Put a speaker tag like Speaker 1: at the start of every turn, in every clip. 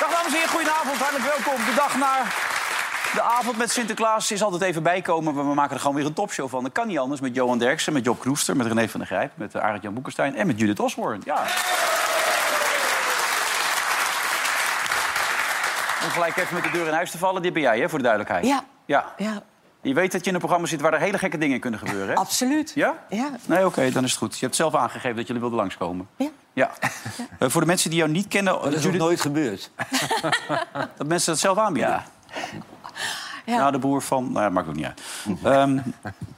Speaker 1: Dag dames en heren, goedenavond. Hartelijk welkom. De dag naar de avond met Sinterklaas is altijd even bijkomen. Maar we maken er gewoon weer een topshow van. Dat kan niet anders. Met Johan Derksen, met Job Knoester, met René van der Grijp... met eh, Arend-Jan Boekenstein en met Judith Osborne. Ja. Om gelijk even met de deur in huis te vallen, dit ben jij, hè, voor de duidelijkheid.
Speaker 2: Ja.
Speaker 1: ja.
Speaker 2: Ja,
Speaker 1: Je weet dat je in een programma zit waar er hele gekke dingen kunnen gebeuren, hè?
Speaker 2: absoluut.
Speaker 1: Ja?
Speaker 2: Ja.
Speaker 1: Nee, oké, dan is het goed. Je hebt zelf aangegeven dat jullie wilden langskomen.
Speaker 2: Ja.
Speaker 1: Ja. Eh, voor de mensen die jou niet kennen...
Speaker 3: Dat is nog
Speaker 1: Judith-
Speaker 3: nooit gebeurd.
Speaker 1: Dat mensen dat zelf aanbieden. Ja.
Speaker 2: Ja.
Speaker 1: Nou, de boer van... Nou, ja, maakt ook niet uit. Ehm,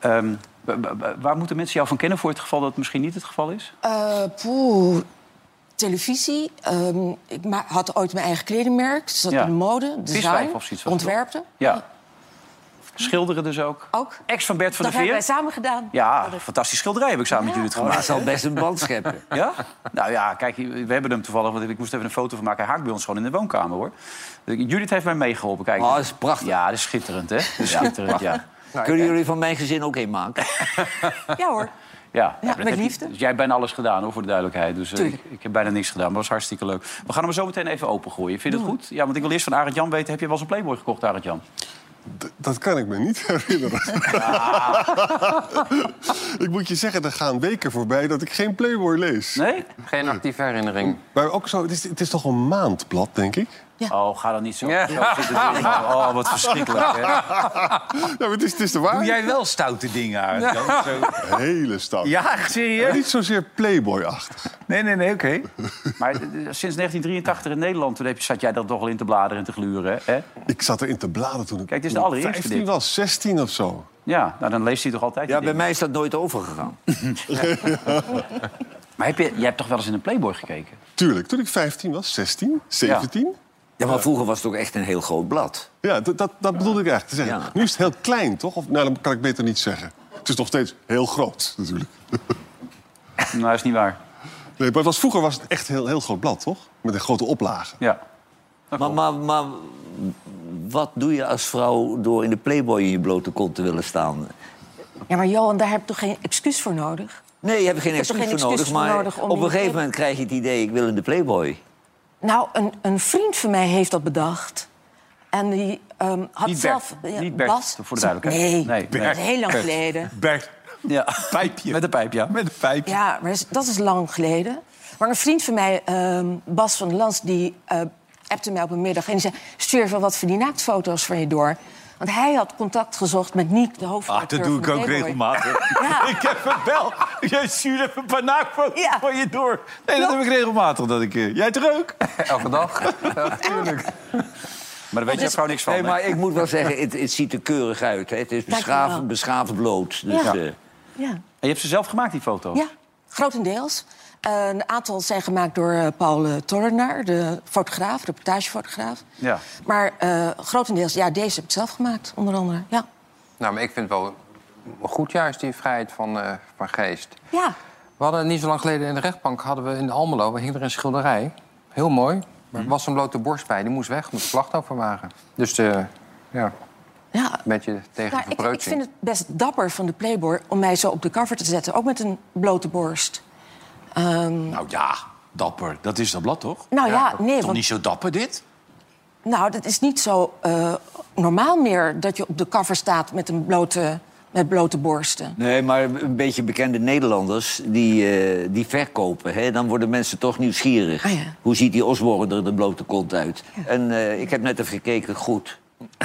Speaker 1: ehm, wa- wa- wa- waar moeten mensen jou van kennen voor het geval dat het misschien niet het geval is?
Speaker 2: Eh, poeh, televisie. Ehm, ik ma- had ooit mijn eigen kledingmerk. Zat
Speaker 1: Ja.
Speaker 2: in de mode,
Speaker 1: Viswijf
Speaker 2: design,
Speaker 1: of zoiets was het
Speaker 2: ontwerpte.
Speaker 1: Ja. Schilderen dus ook.
Speaker 2: Oh. Ook.
Speaker 1: Ex van Bert van
Speaker 2: Dat
Speaker 1: der
Speaker 2: hebben wij
Speaker 1: Veer.
Speaker 2: samen gedaan.
Speaker 1: Ja, fantastisch schilderij heb ik samen met jullie
Speaker 3: Oh, dat
Speaker 1: gemaakt.
Speaker 3: zal best een band scheppen.
Speaker 1: Ja? Nou ja, kijk, we hebben hem toevallig, want ik moest even een foto van maken. Hij haakt bij ons gewoon in de woonkamer, hoor. Judith heeft mij meegeholpen. Kijk.
Speaker 3: Oh, dat is prachtig.
Speaker 1: Ja, dat is schitterend, hè? Dat is schitterend, ja.
Speaker 3: Kunnen jullie van mijn gezin ook een maken?
Speaker 2: Ja hoor.
Speaker 1: Ja,
Speaker 2: Ja,
Speaker 1: maar dat
Speaker 2: met
Speaker 1: heb je-
Speaker 2: liefde.
Speaker 1: dus jij hebt bijna alles gedaan, hoor, voor de duidelijkheid. Dus eh,
Speaker 2: Tuurlijk.
Speaker 1: ik, ik heb bijna niks gedaan, maar het was hartstikke leuk. We gaan hem zo meteen even opengooien. Vind je dat goed? Ja, want ik wil eerst van Arend Jan weten... heb je wel eens een Playboy gekocht, Arend Jan?
Speaker 4: D- Dat kan ik me niet herinneren.
Speaker 3: Ah.
Speaker 4: ik moet je zeggen, er gaan weken voorbij dat ik geen Playboy lees.
Speaker 1: Nee?
Speaker 5: Geen actieve herinnering.
Speaker 4: Maar ook zo, het is, het is toch een maandblad, denk ik?
Speaker 1: Oh, ga dan niet zo.
Speaker 5: Ja.
Speaker 1: zo zitten doen. Oh, wat verschrikkelijk, hè?
Speaker 4: Ja, maar Nou, het is, het is de waarheid.
Speaker 1: wel stoute dingen, Arend Jan?
Speaker 6: Ah.
Speaker 4: Hele stad.
Speaker 1: Ja,
Speaker 4: Maar
Speaker 1: serieus?
Speaker 4: Niet zozeer Playboy-achtig.
Speaker 1: Nee, nee, nee, oké. Maar eh, sinds 1983 in Nederland toen heb je- zat jij dat toch al in te bladeren en te gluren, hè?
Speaker 4: Ik zat erin te bladeren toen ik
Speaker 1: Kijk, dit is de allereerste
Speaker 4: 15
Speaker 1: dit.
Speaker 4: was, 16 of zo.
Speaker 1: Ja, nou, dan leest hij toch altijd die
Speaker 3: Ja, bij
Speaker 1: dingen.
Speaker 3: mij is dat nooit overgegaan.
Speaker 1: Hm. Maar heb je, jij hebt toch wel eens in een Playboy gekeken?
Speaker 4: Tuurlijk, toen ik 15 was, 16, 17.
Speaker 3: Ja, maar vroeger was het ook echt een heel groot blad.
Speaker 4: Ja, dat, dat, dat bedoelde ik eigenlijk te zeggen.
Speaker 3: Ja.
Speaker 4: Nu is het heel klein, toch? Of, nou, dan kan ik beter niet zeggen. Het is nog steeds heel groot, natuurlijk.
Speaker 1: Nou, is niet waar.
Speaker 4: Nee, maar het was, vroeger was het echt een heel, heel groot blad, toch? Met een grote oplage.
Speaker 1: Ja.
Speaker 3: Maar, maar, maar wat doe je als vrouw door in de Playboy in je blote kont te willen staan?
Speaker 2: Ja, maar Johan, daar heb je toch geen excuus voor nodig?
Speaker 3: Nee, je hebt geen
Speaker 2: hebt toch
Speaker 3: excuus
Speaker 2: geen
Speaker 3: voor nodig.
Speaker 2: excuus voor
Speaker 3: Maar
Speaker 2: nodig om
Speaker 3: op
Speaker 2: in
Speaker 3: een
Speaker 2: de
Speaker 3: gegeven
Speaker 2: Playboy-
Speaker 3: moment krijg je het idee, ik wil in de Playboy.
Speaker 2: Nou, een, een vriend van mij heeft dat bedacht. En die ehm, had
Speaker 1: Niet Bert.
Speaker 2: zelf...
Speaker 1: Niet Bert, voor de duidelijkheid.
Speaker 2: Nee,
Speaker 1: Nee,
Speaker 2: dat is
Speaker 1: Bert.
Speaker 2: heel lang geleden.
Speaker 6: Bert,
Speaker 1: ja.
Speaker 6: pijpje.
Speaker 1: Met een pijp, ja.
Speaker 6: Met een pijpje.
Speaker 2: Ja, maar dat is- dat is lang geleden. Maar een vriend van mij, ehm, Bas van Lans, die eh appte mij op een middag... en die zei, stuur even wat van die naaktfoto's van je door. Want hij had contact gezocht met Niek, de
Speaker 6: Ah,
Speaker 2: hoofdredacteur
Speaker 6: dat doe
Speaker 2: van
Speaker 6: ik ook
Speaker 2: Playboy.
Speaker 6: regelmatig.
Speaker 2: Ja.
Speaker 6: Ik heb een bel. Jij stuurt even een paar naaktfoto's
Speaker 2: Ja.
Speaker 6: van je door. Nee, dat
Speaker 2: Ja.
Speaker 6: heb ik regelmatig. Dat ik, eh, jij toch ook?
Speaker 5: Elke dag.
Speaker 1: Maar daar weet je vrouw niks van.
Speaker 3: Nee,
Speaker 1: hè?
Speaker 3: maar ik moet wel zeggen, het, het ziet er keurig uit. Hè. Het is
Speaker 2: Dank je wel.
Speaker 3: beschaafd, beschaafd bloot. Dus,
Speaker 2: Ja.
Speaker 3: eh,
Speaker 2: Ja,
Speaker 1: En je hebt ze zelf gemaakt, die foto's?
Speaker 2: ja grotendeels. Eh, een aantal zijn gemaakt door eh, Paul eh, Tollenaar, de fotograaf, reportagefotograaf.
Speaker 1: Ja.
Speaker 2: Maar eh, grotendeels, ja, deze heb ik zelf gemaakt, onder andere. Ja,
Speaker 5: nou, maar ik vind het wel goed juist, die vrijheid van, eh, van geest.
Speaker 2: ja.
Speaker 5: We hadden niet zo lang geleden in de rechtbank, hadden we in de Almelo, we hing er een schilderij. Heel mooi. Maar er was een blote borst bij, die moest weg omdat de slachtoffer waren. Dus de, ja, een
Speaker 2: ja.
Speaker 5: beetje tegen
Speaker 2: Nou,
Speaker 5: de
Speaker 2: ik, ik
Speaker 5: verpreutsing.
Speaker 2: vind het best dapper van de Playboy om mij zo op de cover te zetten. Ook met een blote borst. Ehm,
Speaker 6: Nou ja, dapper. Dat is dat blad, toch?
Speaker 2: Nou ja, nee,
Speaker 6: Toch
Speaker 2: want
Speaker 6: niet zo dapper, dit?
Speaker 2: nou, dat is niet zo eh, normaal meer dat je op de cover staat met, een blote, met blote borsten.
Speaker 3: Nee, maar een beetje bekende Nederlanders die, eh, die verkopen. Hè? Dan worden mensen toch nieuwsgierig.
Speaker 2: Ah, ja.
Speaker 3: Hoe ziet die Osborne er de blote kont uit? En eh, ik heb net even gekeken, goed.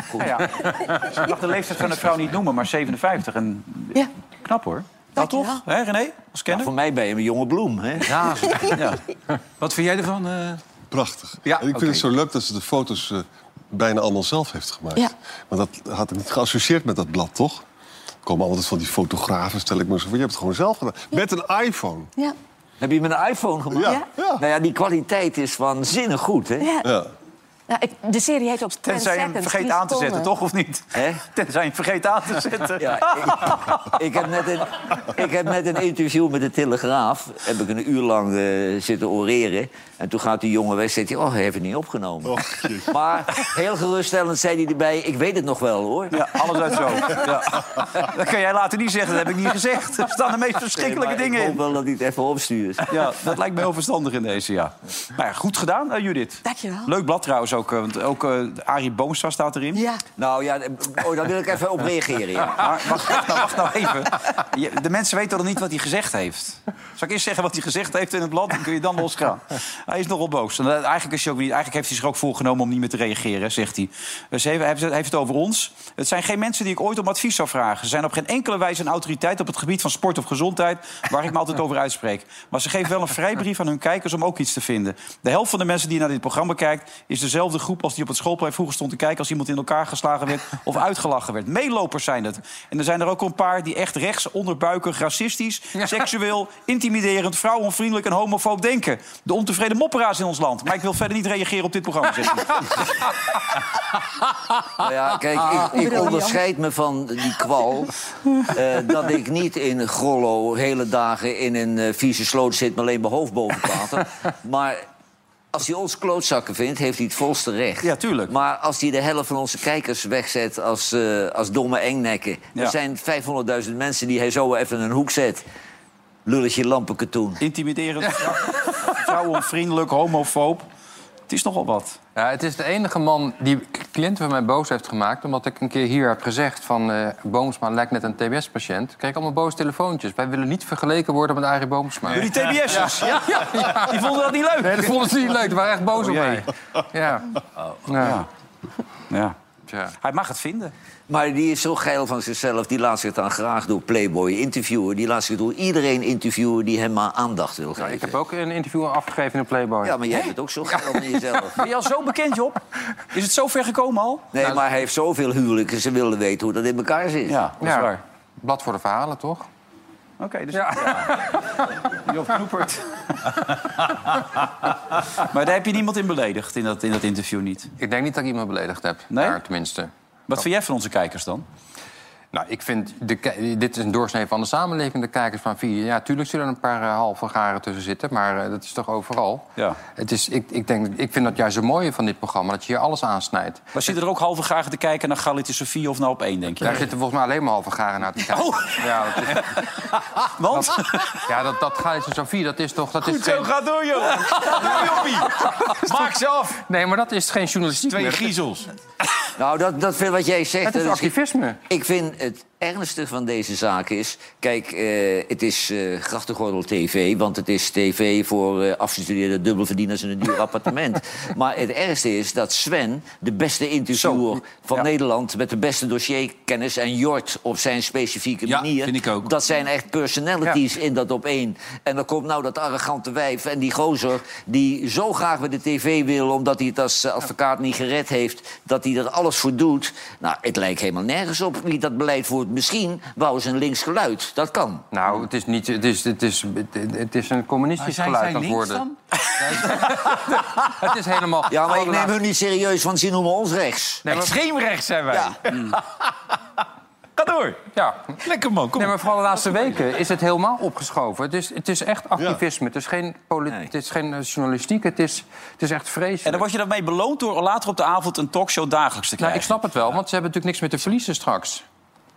Speaker 3: goed.
Speaker 1: Ja, Ik mag de leeftijd van een vrouw niet noemen, maar 57. En
Speaker 2: Ja.
Speaker 1: knap hoor.
Speaker 2: Dank je
Speaker 1: toch? Hè, René? Als kenner?
Speaker 3: Voor mij ben je een jonge bloem. Hè?
Speaker 6: Ja. Wat vind jij ervan? eh?
Speaker 4: Prachtig.
Speaker 6: Ja,
Speaker 4: en ik vind
Speaker 6: oké.
Speaker 4: het zo leuk dat ze de foto's eh, bijna allemaal zelf heeft gemaakt.
Speaker 2: Ja.
Speaker 4: Want dat had ik niet geassocieerd met dat blad, toch? Er komen altijd van die fotografen, stel ik me zo voor. Je hebt het gewoon zelf gedaan. Met een iPhone.
Speaker 2: Ja.
Speaker 3: Heb je met een iPhone gemaakt?
Speaker 4: Ja, ja.
Speaker 3: Nou ja, die kwaliteit is waanzinnig goed. Hè?
Speaker 2: Ja.
Speaker 4: Ja.
Speaker 2: Nou, ik- de serie heet ook 10
Speaker 1: Tenzij je hem
Speaker 2: Seconds,
Speaker 1: vergeet
Speaker 2: 10
Speaker 1: aan te zetten,
Speaker 2: seconden.
Speaker 1: toch of niet?
Speaker 3: Hè?
Speaker 1: Tenzij je hem vergeet aan te zetten.
Speaker 3: Ja, ik, ik, heb net een, ik heb net een interview met de Telegraaf. Heb ik een uur lang eh, zitten oreren. En toen gaat die jongen weg zegt hij... Oh, hij heeft het niet opgenomen. maar heel geruststellend zei hij erbij... Ik weet het nog wel, hoor.
Speaker 1: Ja, alles uit zo. Ja. Dat kan jij later niet zeggen, dat heb ik niet gezegd. Er staan de meest verschrikkelijke
Speaker 3: Nee, maar
Speaker 1: dingen
Speaker 3: Ik hoop
Speaker 1: in.
Speaker 3: wel dat hij het even opstuurt.
Speaker 1: Ja, dat lijkt me heel verstandig in deze, ja. Maar ja, goed gedaan, eh, Judith.
Speaker 2: Dankjewel.
Speaker 1: Leuk blad trouwens ook, eh, want ook eh Arie Boomstra staat erin.
Speaker 2: Ja,
Speaker 3: Nou ja, oh, daar wil ik even op reageren. ja.
Speaker 1: Maar wacht, wacht nou even. Je- De mensen weten nog niet wat hij gezegd heeft. Zal ik eerst zeggen wat hij gezegd heeft in het blad? Dan kun je dan losgaan. Hij is nogal boos. En, eh, Eigenlijk, is hij ook niet, eigenlijk heeft hij zich ook voorgenomen om niet meer te reageren, zegt hij. Eh, Ze heeft, hij heeft het- hij heeft het over ons. Het zijn geen mensen die ik ooit om advies zou vragen. Ze zijn op geen enkele wijze een autoriteit op het gebied van sport of gezondheid... waar ik me altijd over uitspreek. Maar ze geven wel een vrijbrief aan hun kijkers om ook iets te vinden. De helft van de mensen die naar dit programma kijkt... is dezelfde groep als die op het schoolplein vroeger stond te kijken... als iemand in elkaar geslagen werd of uitgelachen werd. Meelopers zijn het. En er zijn er ook een paar die echt rechts, onderbuikig, racistisch... seksueel, intimiderend, vrouwonvriendelijk en homofoob denken. De ontevreden mopperaars in ons land. Maar ik wil verder niet reageren op dit programma. zegt hij.
Speaker 3: Nou ja, kijk,
Speaker 1: Ah.
Speaker 3: ik, ik onderscheid me van die kwal. eh, dat ik niet in Grollo hele dagen in een eh, vieze sloot zit... maar alleen mijn hoofd boven water. Maar als hij ons klootzakken vindt, heeft hij het volste recht.
Speaker 1: Ja, tuurlijk.
Speaker 3: Maar als hij de helft van onze kijkers wegzet als, eh, als domme engnekken...
Speaker 1: Ja.
Speaker 3: er zijn 500.000 mensen die hij zo even in een hoek zet. Lulletje lampenkatoen.
Speaker 1: Intimiderend, vrouwonvriendelijk, homofoob. Het is nogal wat.
Speaker 5: Ja, het is de enige man die k- cliënten van mij boos heeft gemaakt... omdat ik een keer hier heb gezegd van... eh, Boomsma lijkt net een TBS-patiënt. Kreeg ik allemaal boze telefoontjes. Wij willen niet vergeleken worden met Arie Boomsma.
Speaker 1: Door die TBS'ers. Die vonden dat niet leuk.
Speaker 5: Nee, dat vonden ze niet leuk. Die waren echt boos
Speaker 1: Oh,
Speaker 5: op
Speaker 1: jee.
Speaker 5: mij. Ja.
Speaker 1: Ja.
Speaker 5: ja.
Speaker 1: Ja.
Speaker 5: Tja.
Speaker 1: Hij mag het vinden.
Speaker 3: Maar die is zo geil van zichzelf. Die laat zich dan graag door Playboy interviewen. Die laat zich door iedereen interviewen die hem maar aandacht wil geven.
Speaker 5: Ik heb ook een interview afgegeven in Playboy.
Speaker 3: Ja, maar jij bent ook zo geil van jezelf.
Speaker 1: Ben je al zo bekend, Job? Is het zo ver gekomen al?
Speaker 3: Nee, maar hij heeft zoveel huwelijken. Ze wilden weten hoe dat in elkaar zit.
Speaker 1: Ja, dat is
Speaker 5: Ja.
Speaker 1: waar.
Speaker 5: Blad voor de verhalen, toch?
Speaker 1: Oké, dus... Job Knoepert. maar daar heb je niemand in beledigd, in dat, in dat interview niet.
Speaker 5: Ik denk niet dat ik iemand beledigd heb.
Speaker 1: Nee?
Speaker 5: Daar tenminste.
Speaker 1: Wat vind jij van onze kijkers dan?
Speaker 5: Nou, ik vind, de, ki- dit is een doorsnee van de samenleving, de kijkers van vier. Ja, tuurlijk zullen er een paar eh, halve garen tussen zitten, maar eh, dat is toch overal.
Speaker 1: Ja.
Speaker 5: Het is, ik, ik, denk, ik vind dat juist het mooie van dit programma, dat je hier alles aansnijdt.
Speaker 1: Maar zitten er ook halve graag te kijken naar Galit en Sofie of naar op één, denk je?
Speaker 5: Daar zitten volgens mij alleen maar halve garen naar te kijken.
Speaker 6: Oh,
Speaker 5: Ja, dat, is-
Speaker 1: Want?
Speaker 5: ja, dat, dat gaat zo vier, dat is toch... Dat is geen-
Speaker 6: ga door, joh. Maak ze af.
Speaker 5: nee, maar dat is geen journalistiek
Speaker 6: Twee
Speaker 5: meer.
Speaker 6: griezels.
Speaker 3: Nou, dat, dat vind wat jij zegt.
Speaker 5: Het is
Speaker 3: dat
Speaker 5: activisme.
Speaker 3: Ik vind het ernstig van deze zaak is... Kijk, eh, het is eh grachtengordel tv. Want het is tv voor eh, afgestudeerde dubbelverdieners in een duur appartement. Maar het ergste is dat Sven, de beste interviewer van Nederland... met de beste dossierkennis en Jort op zijn specifieke
Speaker 6: Ja,
Speaker 3: manier...
Speaker 6: vind ik ook.
Speaker 3: Dat zijn echt personalities in dat op één. En dan komt nou dat arrogante wijf en die gozer... die zo graag bij de tv wil, omdat hij het als eh, advocaat niet gered heeft... dat hij er alles voor doet. Nou, het lijkt helemaal nergens op wie dat beleid voert. Misschien wou ze een links geluid. Dat kan.
Speaker 5: Nou, het is, niet, het is, het is, het, het is een communistisch geluid aan het worden. Het is helemaal...
Speaker 3: Ja, maar ik neem
Speaker 5: allerlaatste-
Speaker 3: hun niet serieus, want ze noemen ons rechts.
Speaker 5: Nee, maar-
Speaker 6: Extreem rechts zijn wij. Ga door.
Speaker 5: ja,
Speaker 6: Lekker man, kom
Speaker 5: Nee, maar vooral de laatste weken is het helemaal opgeschoven. Het is, het is echt activisme. Het is geen, poli-
Speaker 3: Nee.
Speaker 5: het is geen eh, journalistiek. Het is, het is echt vreselijk.
Speaker 1: En dan word je daarmee beloond door later op de avond een talkshow dagelijks te
Speaker 5: nou,
Speaker 1: krijgen.
Speaker 5: ik snap het wel, want ze hebben natuurlijk niks meer te verliezen straks.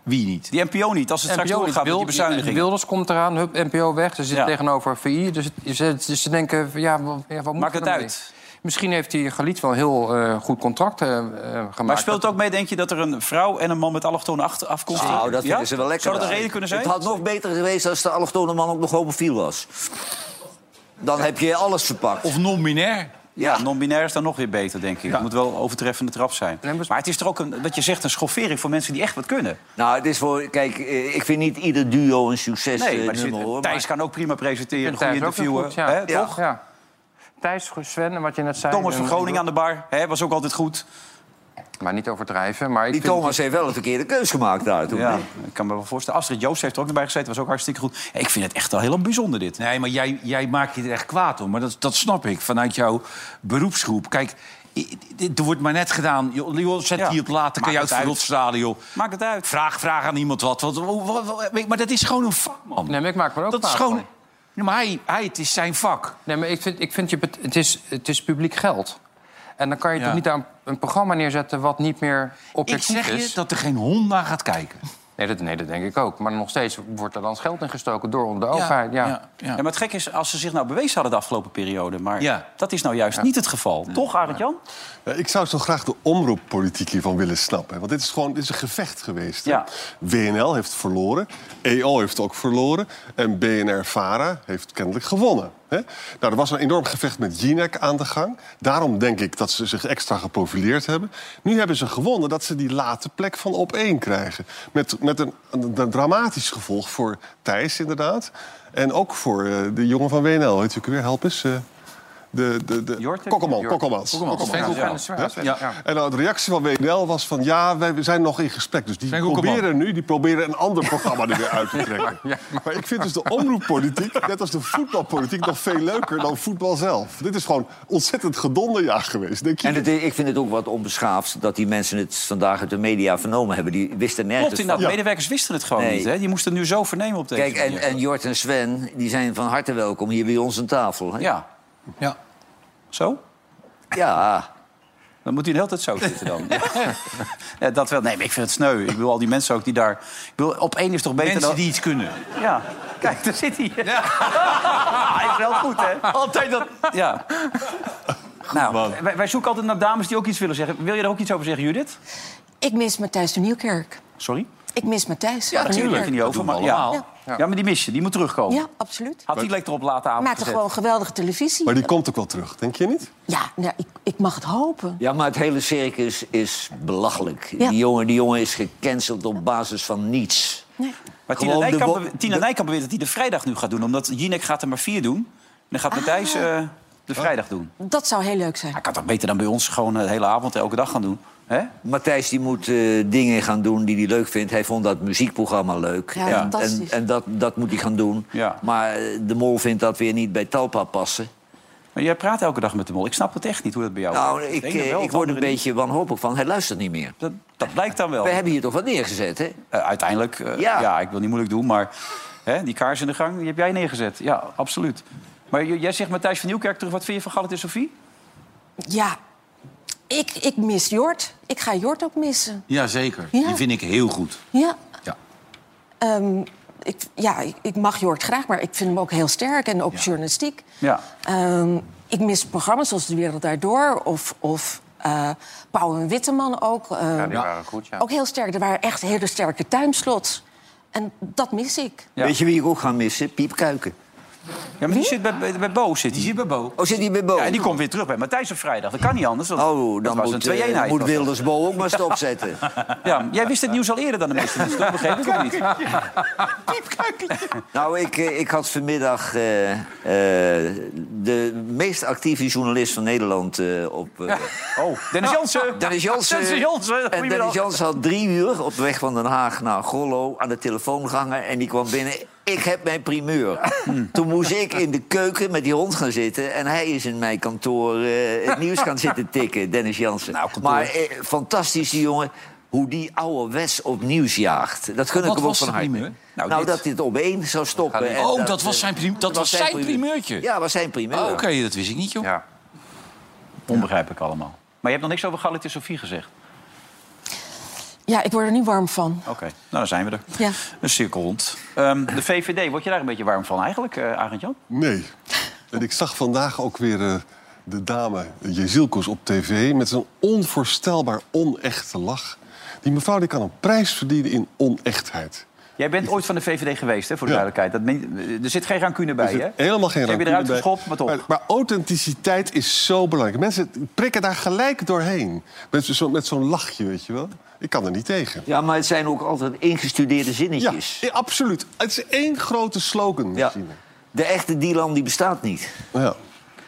Speaker 6: Wie niet?
Speaker 1: Die NPO niet, als het straks
Speaker 5: NPO
Speaker 1: doorgaat met
Speaker 5: wil-
Speaker 1: die bezuiniging.
Speaker 5: Wilders komt eraan, hup, NPO weg. Ze zitten
Speaker 1: Ja.
Speaker 5: tegenover VI. Dus, het- ze, ze- ze denken, van, ja, wat, ja, wat moet
Speaker 1: Maakt
Speaker 5: er
Speaker 1: het
Speaker 5: nou
Speaker 1: uit.
Speaker 5: mee? Misschien heeft die Galiet wel een heel eh, goed contract eh, eh, gemaakt.
Speaker 1: Maar speelt het ook mee, denk je, dat er een vrouw en een man met allochtone achter- afkomst...
Speaker 3: Nou, dat
Speaker 1: Ja?
Speaker 3: vinden ze wel lekker.
Speaker 1: Zou dat een
Speaker 3: dan.
Speaker 1: reden kunnen zijn?
Speaker 3: Het had nog beter geweest als de allochtone man ook nog homofiel was. Dan heb je alles verpakt.
Speaker 6: Of non-binair.
Speaker 1: Ja, non-binair is dan nog weer beter, denk ik. Het moet wel overtreffende trap zijn.
Speaker 5: Nee, maar-
Speaker 1: Maar het is toch ook, een, wat je zegt, een schoffering voor mensen die echt wat kunnen.
Speaker 3: Nou, het is voor... Kijk, eh, ik vind niet ieder duo een succes
Speaker 1: Nee,
Speaker 3: eh,
Speaker 1: maar er zit-
Speaker 3: nummer, hoor.
Speaker 1: Thijs kan ook prima presenteren,
Speaker 5: En
Speaker 1: goede
Speaker 5: Thijs ook
Speaker 1: interviewen.
Speaker 5: nog goed, ja.
Speaker 1: hè,
Speaker 5: Ja.
Speaker 1: toch?
Speaker 5: Ja. Thijs, Sven, en wat je net zei.
Speaker 1: Thomas van
Speaker 5: en-
Speaker 1: Groningen aan de bar, hè, was ook altijd goed.
Speaker 5: Maar niet overdrijven. Maar ik
Speaker 3: Die
Speaker 5: vind-
Speaker 3: Thomas heeft wel een verkeerde keus gemaakt daar toen.
Speaker 1: Ja, ik kan me wel voorstellen. Astrid Joost heeft er ook nog bij gezeten, was ook hartstikke goed. Ik vind het echt wel heel bijzonder, dit.
Speaker 6: Nee, maar jij, jij maakt je er echt kwaad om. Maar dat, dat snap ik vanuit jouw beroepsgroep. Kijk, i- i- Er wordt maar net gedaan. joh, joh, zet
Speaker 1: Ja.
Speaker 6: die op later, kan
Speaker 1: Maakt
Speaker 6: je
Speaker 1: het
Speaker 6: uit
Speaker 1: uit.
Speaker 6: voor stadion. joh.
Speaker 1: Maakt het uit.
Speaker 6: Vraag, vraag aan iemand wat. wat, wat- wat- wat- maar dat is gewoon een vak, man.
Speaker 5: Nee, maar ik maak me er ook
Speaker 6: dat is
Speaker 5: vaak
Speaker 6: gewoon...
Speaker 5: van.
Speaker 6: Nee, maar hij, hij, het is zijn vak.
Speaker 5: Nee, maar ik vind, ik vind je, bet- het, is, het is publiek geld. En dan kan je
Speaker 6: Ja.
Speaker 5: toch niet daar een, een programma neerzetten wat niet meer
Speaker 6: Ik
Speaker 5: objectief
Speaker 6: zeg je
Speaker 5: is?
Speaker 6: dat er geen hond naar gaat kijken.
Speaker 5: Nee, dat, nee, dat denk ik ook. Maar nog steeds wordt er dan geld in gestoken door de overheid. Ja.
Speaker 6: ja.
Speaker 1: Ja, maar het gek is, als ze zich nou bewezen hadden de afgelopen periode... maar
Speaker 6: Ja.
Speaker 1: dat is nou juist niet het geval. Toch, Arend Jan?
Speaker 4: Ja, Eh, ik zou zo graag de omroeppolitiek hiervan willen snappen. hè. Want dit is gewoon dit is een gevecht geweest. hè.
Speaker 1: Ja.
Speaker 4: WNL heeft verloren. EO heeft ook verloren. En BNR-VARA heeft kennelijk gewonnen. Hè? Nou, er was een enorm gevecht met Jinek aan de gang. Daarom denk ik dat ze zich extra geprofileerd hebben. Nu hebben ze gewonnen dat ze die late plek van op één krijgen. Met, met een, een- een dramatisch gevolg voor Thijs, inderdaad. En ook voor eh, de jongen van WNL. Weet u ook weer, help eens. eh, de, de, de,
Speaker 1: Jort, hè?
Speaker 4: Kokkelman,
Speaker 1: Jort.
Speaker 4: Kokkelmans.
Speaker 5: Of Henk Hoek en de Zwaard.
Speaker 4: Ja.
Speaker 5: Ja.
Speaker 4: En nou, de reactie van WNL was van... ja, wij zijn nog in gesprek. Dus die
Speaker 6: Frank Hoekeman.
Speaker 4: proberen nu die proberen een ander programma er weer uit te trekken. Maar ik vind dus de omroeppolitiek, net als de voetbalpolitiek... nog veel leuker dan voetbal zelf. Dit is gewoon ontzettend gedonderjaar geweest. Denk je?
Speaker 3: En het, ik vind het ook wat onbeschaafd dat die mensen het vandaag uit de media vernomen hebben. Die wisten nergens
Speaker 1: Klopt
Speaker 3: van.
Speaker 1: inderdaad.
Speaker 4: Ja.
Speaker 1: Medewerkers wisten het gewoon
Speaker 3: Nee.
Speaker 1: niet. Hè? Die moesten nu zo vernemen op deze
Speaker 3: Kijk, en,
Speaker 1: manier.
Speaker 3: en Jort en Sven die zijn van harte welkom hier bij ons aan tafel. Hè?
Speaker 1: Ja.
Speaker 6: Ja.
Speaker 1: Zo?
Speaker 3: Ja.
Speaker 1: Dan moet hij de hele tijd zo zitten dan. ja, dat wel. Nee, maar ik vind het sneu. Ik wil al die mensen ook die daar... Ik wil, op één is toch beter
Speaker 6: Mensen
Speaker 1: dan...
Speaker 6: die iets kunnen.
Speaker 1: Ja. Kijk, daar zit hij. hij is wel goed, hè? Altijd dat... Ja. Nou, wij, wij zoeken altijd naar dames die ook iets willen zeggen. Wil je daar ook iets over zeggen, Judith?
Speaker 2: Ik mis Matthijs de Nieuwkerk.
Speaker 1: Sorry?
Speaker 2: Ik mis Matthijs.
Speaker 1: Ja,
Speaker 2: van
Speaker 1: natuurlijk.
Speaker 2: Nieuwkerk.
Speaker 1: Niet over, maar, ja.
Speaker 2: allemaal.
Speaker 1: ja, maar die mis je. Die moet terugkomen.
Speaker 2: Ja, absoluut.
Speaker 1: Had die lekker op late avond
Speaker 2: Maakte
Speaker 1: gezet.
Speaker 2: gewoon geweldige televisie.
Speaker 4: Maar die komt ook wel terug, denk je niet?
Speaker 2: Ja, nou, ik, ik mag het hopen.
Speaker 3: ja, maar het hele circus is belachelijk.
Speaker 2: Ja.
Speaker 3: Die, jongen, die jongen is gecanceld op basis van niets.
Speaker 1: Maar Tina
Speaker 3: Gewoon de
Speaker 1: Nijkamp,
Speaker 3: wo-
Speaker 1: bewe- Tina Nijkamp beweert dat hij de vrijdag nu gaat doen. Omdat Jinek gaat er maar vier doen. En dan gaat Matthijs eh, de
Speaker 3: Ah.
Speaker 1: vrijdag doen.
Speaker 2: Dat zou heel leuk zijn.
Speaker 1: Hij kan toch beter dan bij ons gewoon eh, de hele avond elke dag gaan doen. Hè?
Speaker 3: Matthijs die moet eh, dingen gaan doen die hij leuk vindt. Hij vond dat muziekprogramma leuk.
Speaker 2: Ja,
Speaker 3: en en,
Speaker 2: fantastisch.
Speaker 3: en dat, dat moet hij gaan doen.
Speaker 1: Ja.
Speaker 3: Maar eh, de mol vindt dat weer niet bij Talpa passen.
Speaker 1: Maar jij praat elke dag met de mol. Ik snap het echt niet hoe dat bij jou
Speaker 3: Nou,
Speaker 1: werkt.
Speaker 3: ik,
Speaker 1: denk het
Speaker 3: eh,
Speaker 1: wel,
Speaker 3: ik word een
Speaker 1: anderen
Speaker 3: beetje wanhopig van. Hij luistert niet meer.
Speaker 1: niet. Dat, dat blijkt dan wel.
Speaker 3: We hebben hier toch wat neergezet, hè?
Speaker 1: Eh, uiteindelijk, eh, ja.
Speaker 3: Ja.
Speaker 1: ik wil niet moeilijk doen, maar hè, die kaars in de gang, die heb jij neergezet. Ja, absoluut. Maar j- jij zegt Matthijs van Nieuwkerk terug, wat vind je van Gallet en Sofie?
Speaker 2: Ja, ik, ik mis Jort. Ik ga Jort ook missen.
Speaker 6: Jazeker.
Speaker 2: Ja.
Speaker 6: Die vind ik heel goed.
Speaker 2: Ja.
Speaker 6: Ja.
Speaker 2: Ehm, ik, ja, ik, ik mag Jort graag, maar ik vind hem ook heel sterk en ook journalistiek.
Speaker 1: Ja.
Speaker 2: Ehm, ik mis programma's zoals De Wereld Daardoor of, of eh Pauw en Witteman ook. Ehm,
Speaker 5: die waren goed, ja.
Speaker 2: Ook heel sterk. Er waren echt hele sterke tuinslots. En dat mis ik.
Speaker 1: Ja.
Speaker 3: Weet je wie ik ook ga missen? Piep Kuiken.
Speaker 1: Ja, maar die zit bij, bij, bij Bo. Zit die.
Speaker 6: zit bij Bo.
Speaker 3: Oh, zit hij bij Bo?
Speaker 1: Ja, en die komt weer terug bij Matthijs op vrijdag. Dat kan niet anders. want
Speaker 3: Oh,
Speaker 1: dat
Speaker 3: dan
Speaker 1: was een
Speaker 3: moet, eh,
Speaker 1: twee-eenheid.
Speaker 3: moet
Speaker 1: was dat.
Speaker 3: Wilders Bo ook maar stopzetten.
Speaker 1: Ja, jij wist het nieuws al eerder dan de meeste mensen. Dat begreep ik ook niet.
Speaker 3: nou, ik, eh, ik had vanmiddag eh, eh, de meest actieve journalist van Nederland eh, op... eh,
Speaker 1: Oh, Dennis Jansen.
Speaker 3: Dennis Jansen.
Speaker 1: Dennis Jansen.
Speaker 3: En
Speaker 1: goedemiddag.
Speaker 3: Dennis Jansen had drie uur op de weg van Den Haag naar Gollo aan de telefoon gehangen. En die kwam binnen. Ik heb mijn primeur. Toen moest ik in de keuken met die hond gaan zitten. En hij is in mijn kantoor eh, het nieuws gaan zitten tikken, Dennis Jansen.
Speaker 1: Nou,
Speaker 3: maar eh, fantastisch, die jongen. Hoe die ouderwets op nieuws jaagt. Dat gun ik
Speaker 6: Wat
Speaker 3: hem ook
Speaker 6: was
Speaker 3: van
Speaker 6: de
Speaker 3: harte.
Speaker 6: primeur?
Speaker 3: Nou,
Speaker 1: dit.
Speaker 3: dat dit op één zou stoppen. en
Speaker 6: Oh, dat was zijn
Speaker 3: eh,
Speaker 6: prim- dat was zijn primeurtje?
Speaker 3: Ja, was zijn primeur.
Speaker 6: Oh, Oké, dat wist ik niet, joh.
Speaker 5: Ja.
Speaker 1: Onbegrijpelijk allemaal. Maar je hebt nog niks over Galit en Sofie gezegd.
Speaker 2: Ja, ik word er niet warm
Speaker 5: Oh.
Speaker 2: van.
Speaker 1: Oké, nou dan zijn we er.
Speaker 2: Ja.
Speaker 1: Een cirkel rond. Ehm, de VVD, word je daar een beetje warm van eigenlijk, eh Arend-Jan?
Speaker 4: Nee. En ik zag vandaag ook weer eh, de dame Jezilkos op tv... met een onvoorstelbaar onechte lach. Die mevrouw die kan een prijs verdienen in onechtheid.
Speaker 1: Jij bent ooit van de VVD geweest, hè, voor de
Speaker 4: Ja.
Speaker 1: duidelijkheid. Dat meen- er zit geen rancune bij,
Speaker 4: Er
Speaker 1: hè?
Speaker 4: zit helemaal geen
Speaker 1: Ze hebben je
Speaker 4: rancune
Speaker 1: eruit
Speaker 4: bij.
Speaker 1: geschopt, maar toch.
Speaker 4: Maar, maar authenticiteit is zo belangrijk. Mensen prikken daar gelijk doorheen. Met zo'n met zo'n lachje, weet je wel. Ik kan er niet tegen.
Speaker 3: Ja, maar het zijn ook altijd ingestudeerde
Speaker 4: Ja,
Speaker 3: zinnetjes.
Speaker 4: eh, absoluut. Het is één grote slogan
Speaker 3: Ja.
Speaker 4: misschien.
Speaker 3: De echte Dylan die bestaat niet.
Speaker 4: Ja.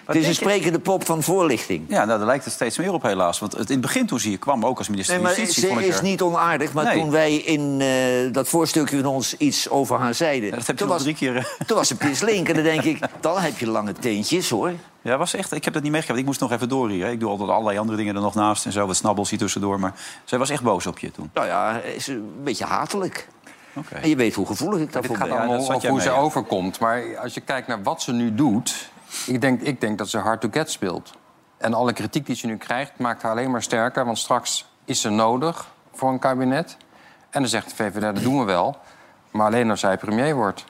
Speaker 3: het is een
Speaker 1: denk je?
Speaker 3: sprekende pop van voorlichting.
Speaker 1: Ja, nou, daar lijkt het steeds meer op helaas. Want het, in het begin toen ze hier kwam, ook als minister
Speaker 3: Nee,
Speaker 1: van
Speaker 3: maar
Speaker 1: Justitie...
Speaker 3: ze
Speaker 1: vond ik
Speaker 3: is
Speaker 1: haar-
Speaker 3: niet onaardig, maar
Speaker 1: Nee.
Speaker 3: toen wij in eh, dat voorstukje van ons iets over haar zeiden...
Speaker 1: Ja, dat heb je
Speaker 3: toen,
Speaker 1: nog
Speaker 3: was,
Speaker 1: drie keer, eh.
Speaker 3: toen was ze pislink en dan denk ik, dan heb je lange teentjes, hoor.
Speaker 1: Ja, was echt, ik heb dat niet meegekregen. want Ik moest nog even door hier. Ik doe altijd allerlei andere dingen er nog naast en zo. Wat snabbels hier tussendoor. Maar zij was echt boos op je toen.
Speaker 3: Nou ja, is een beetje hatelijk.
Speaker 1: Oké.
Speaker 3: En je weet hoe gevoelig ik
Speaker 5: Dit
Speaker 3: daarvoor
Speaker 5: gaat
Speaker 3: ben.
Speaker 1: ja, dat
Speaker 5: allemaal
Speaker 1: zat
Speaker 5: over
Speaker 1: jij
Speaker 5: hoe
Speaker 1: mee,
Speaker 5: ze
Speaker 1: ja.
Speaker 5: overkomt. Maar als je kijkt naar wat ze nu doet... Ik denk, ik denk dat ze hard to get speelt. En alle kritiek die ze nu krijgt maakt haar alleen maar sterker. Want straks is ze nodig voor een kabinet. En dan zegt de VVD, dat doen we wel. Maar alleen als zij premier wordt.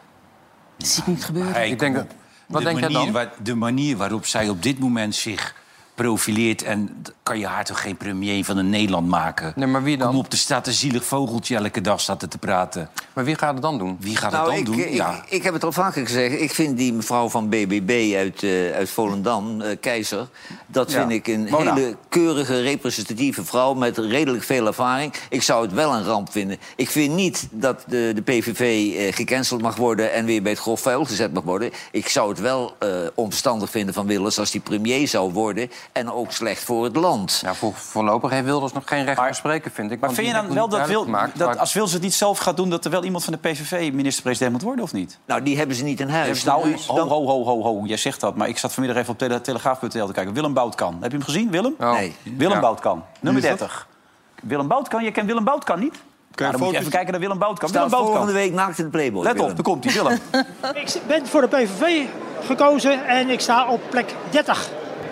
Speaker 2: Dat zie ik niet gebeuren.
Speaker 6: Hey,
Speaker 5: Ik denk
Speaker 6: kom
Speaker 5: dat-
Speaker 6: op.
Speaker 5: wat
Speaker 6: de
Speaker 5: denk jij dan?
Speaker 6: manier waar- de manier waarop zij op dit moment zich profileert... en d- kan je haar toch geen premier van een Nederland maken?
Speaker 5: Nee, maar wie dan?
Speaker 6: Kom op, er staat een zielig vogeltje elke dag staat er te praten.
Speaker 5: Maar wie gaat het dan doen?
Speaker 6: Wie gaat
Speaker 3: Nou,
Speaker 6: het
Speaker 3: ik,
Speaker 6: dan doen?
Speaker 3: ik,
Speaker 6: ja.
Speaker 3: ik heb het al vaker gezegd. Ik vind die mevrouw van BBB uit, eh, uit Volendam, eh, Keizer... dat
Speaker 1: Ja,
Speaker 3: vind ik een
Speaker 1: Mona.
Speaker 3: hele keurige, representatieve vrouw... met redelijk veel ervaring. Ik zou het wel een ramp vinden. Ik vind niet dat de, de PVV eh, gecanceld mag worden... en weer bij het grof vuil gezet mag worden. Ik zou het wel eh, omstandig vinden van Willers... als die premier zou worden en ook slecht voor het land.
Speaker 5: Ja, voor, voorlopig heeft Wilders nog geen recht van spreken, vind ik.
Speaker 1: Maar
Speaker 5: want
Speaker 1: vind je
Speaker 5: Oh, die
Speaker 1: dan
Speaker 5: heeft
Speaker 1: wel dat,
Speaker 5: nog
Speaker 1: Wil,
Speaker 5: niet duidelijk
Speaker 1: dat
Speaker 5: gemaakt
Speaker 1: als Wils het niet zelf gaat doen... dat er wel iemand van de PVV minister-president moet worden, of niet?
Speaker 3: Nou, die hebben ze niet in huis.
Speaker 1: Nou, ho, ho, ho, ho, ho. Jij zegt dat, maar ik zat vanmiddag even op tele- telegraaf.nl te kijken. Willem Boutkan. Heb je hem gezien, Willem?
Speaker 5: waar-
Speaker 3: Nee.
Speaker 1: Willem
Speaker 5: Ja.
Speaker 1: Boutkan, nummer
Speaker 4: Oh. Wie is dat?
Speaker 1: 30. Willem Boutkan, je kent Willem Boutkan niet? Nou, dan moet je
Speaker 4: foto's-
Speaker 1: even kijken naar Willem Boutkan.
Speaker 3: Staat
Speaker 1: Willem Boutkan.
Speaker 3: volgende week naakt in de Playboy.
Speaker 1: Let op,
Speaker 3: Willem.
Speaker 1: daar komt hij, Willem.
Speaker 7: Ik ben voor de PVV gekozen en ik sta op plek 30.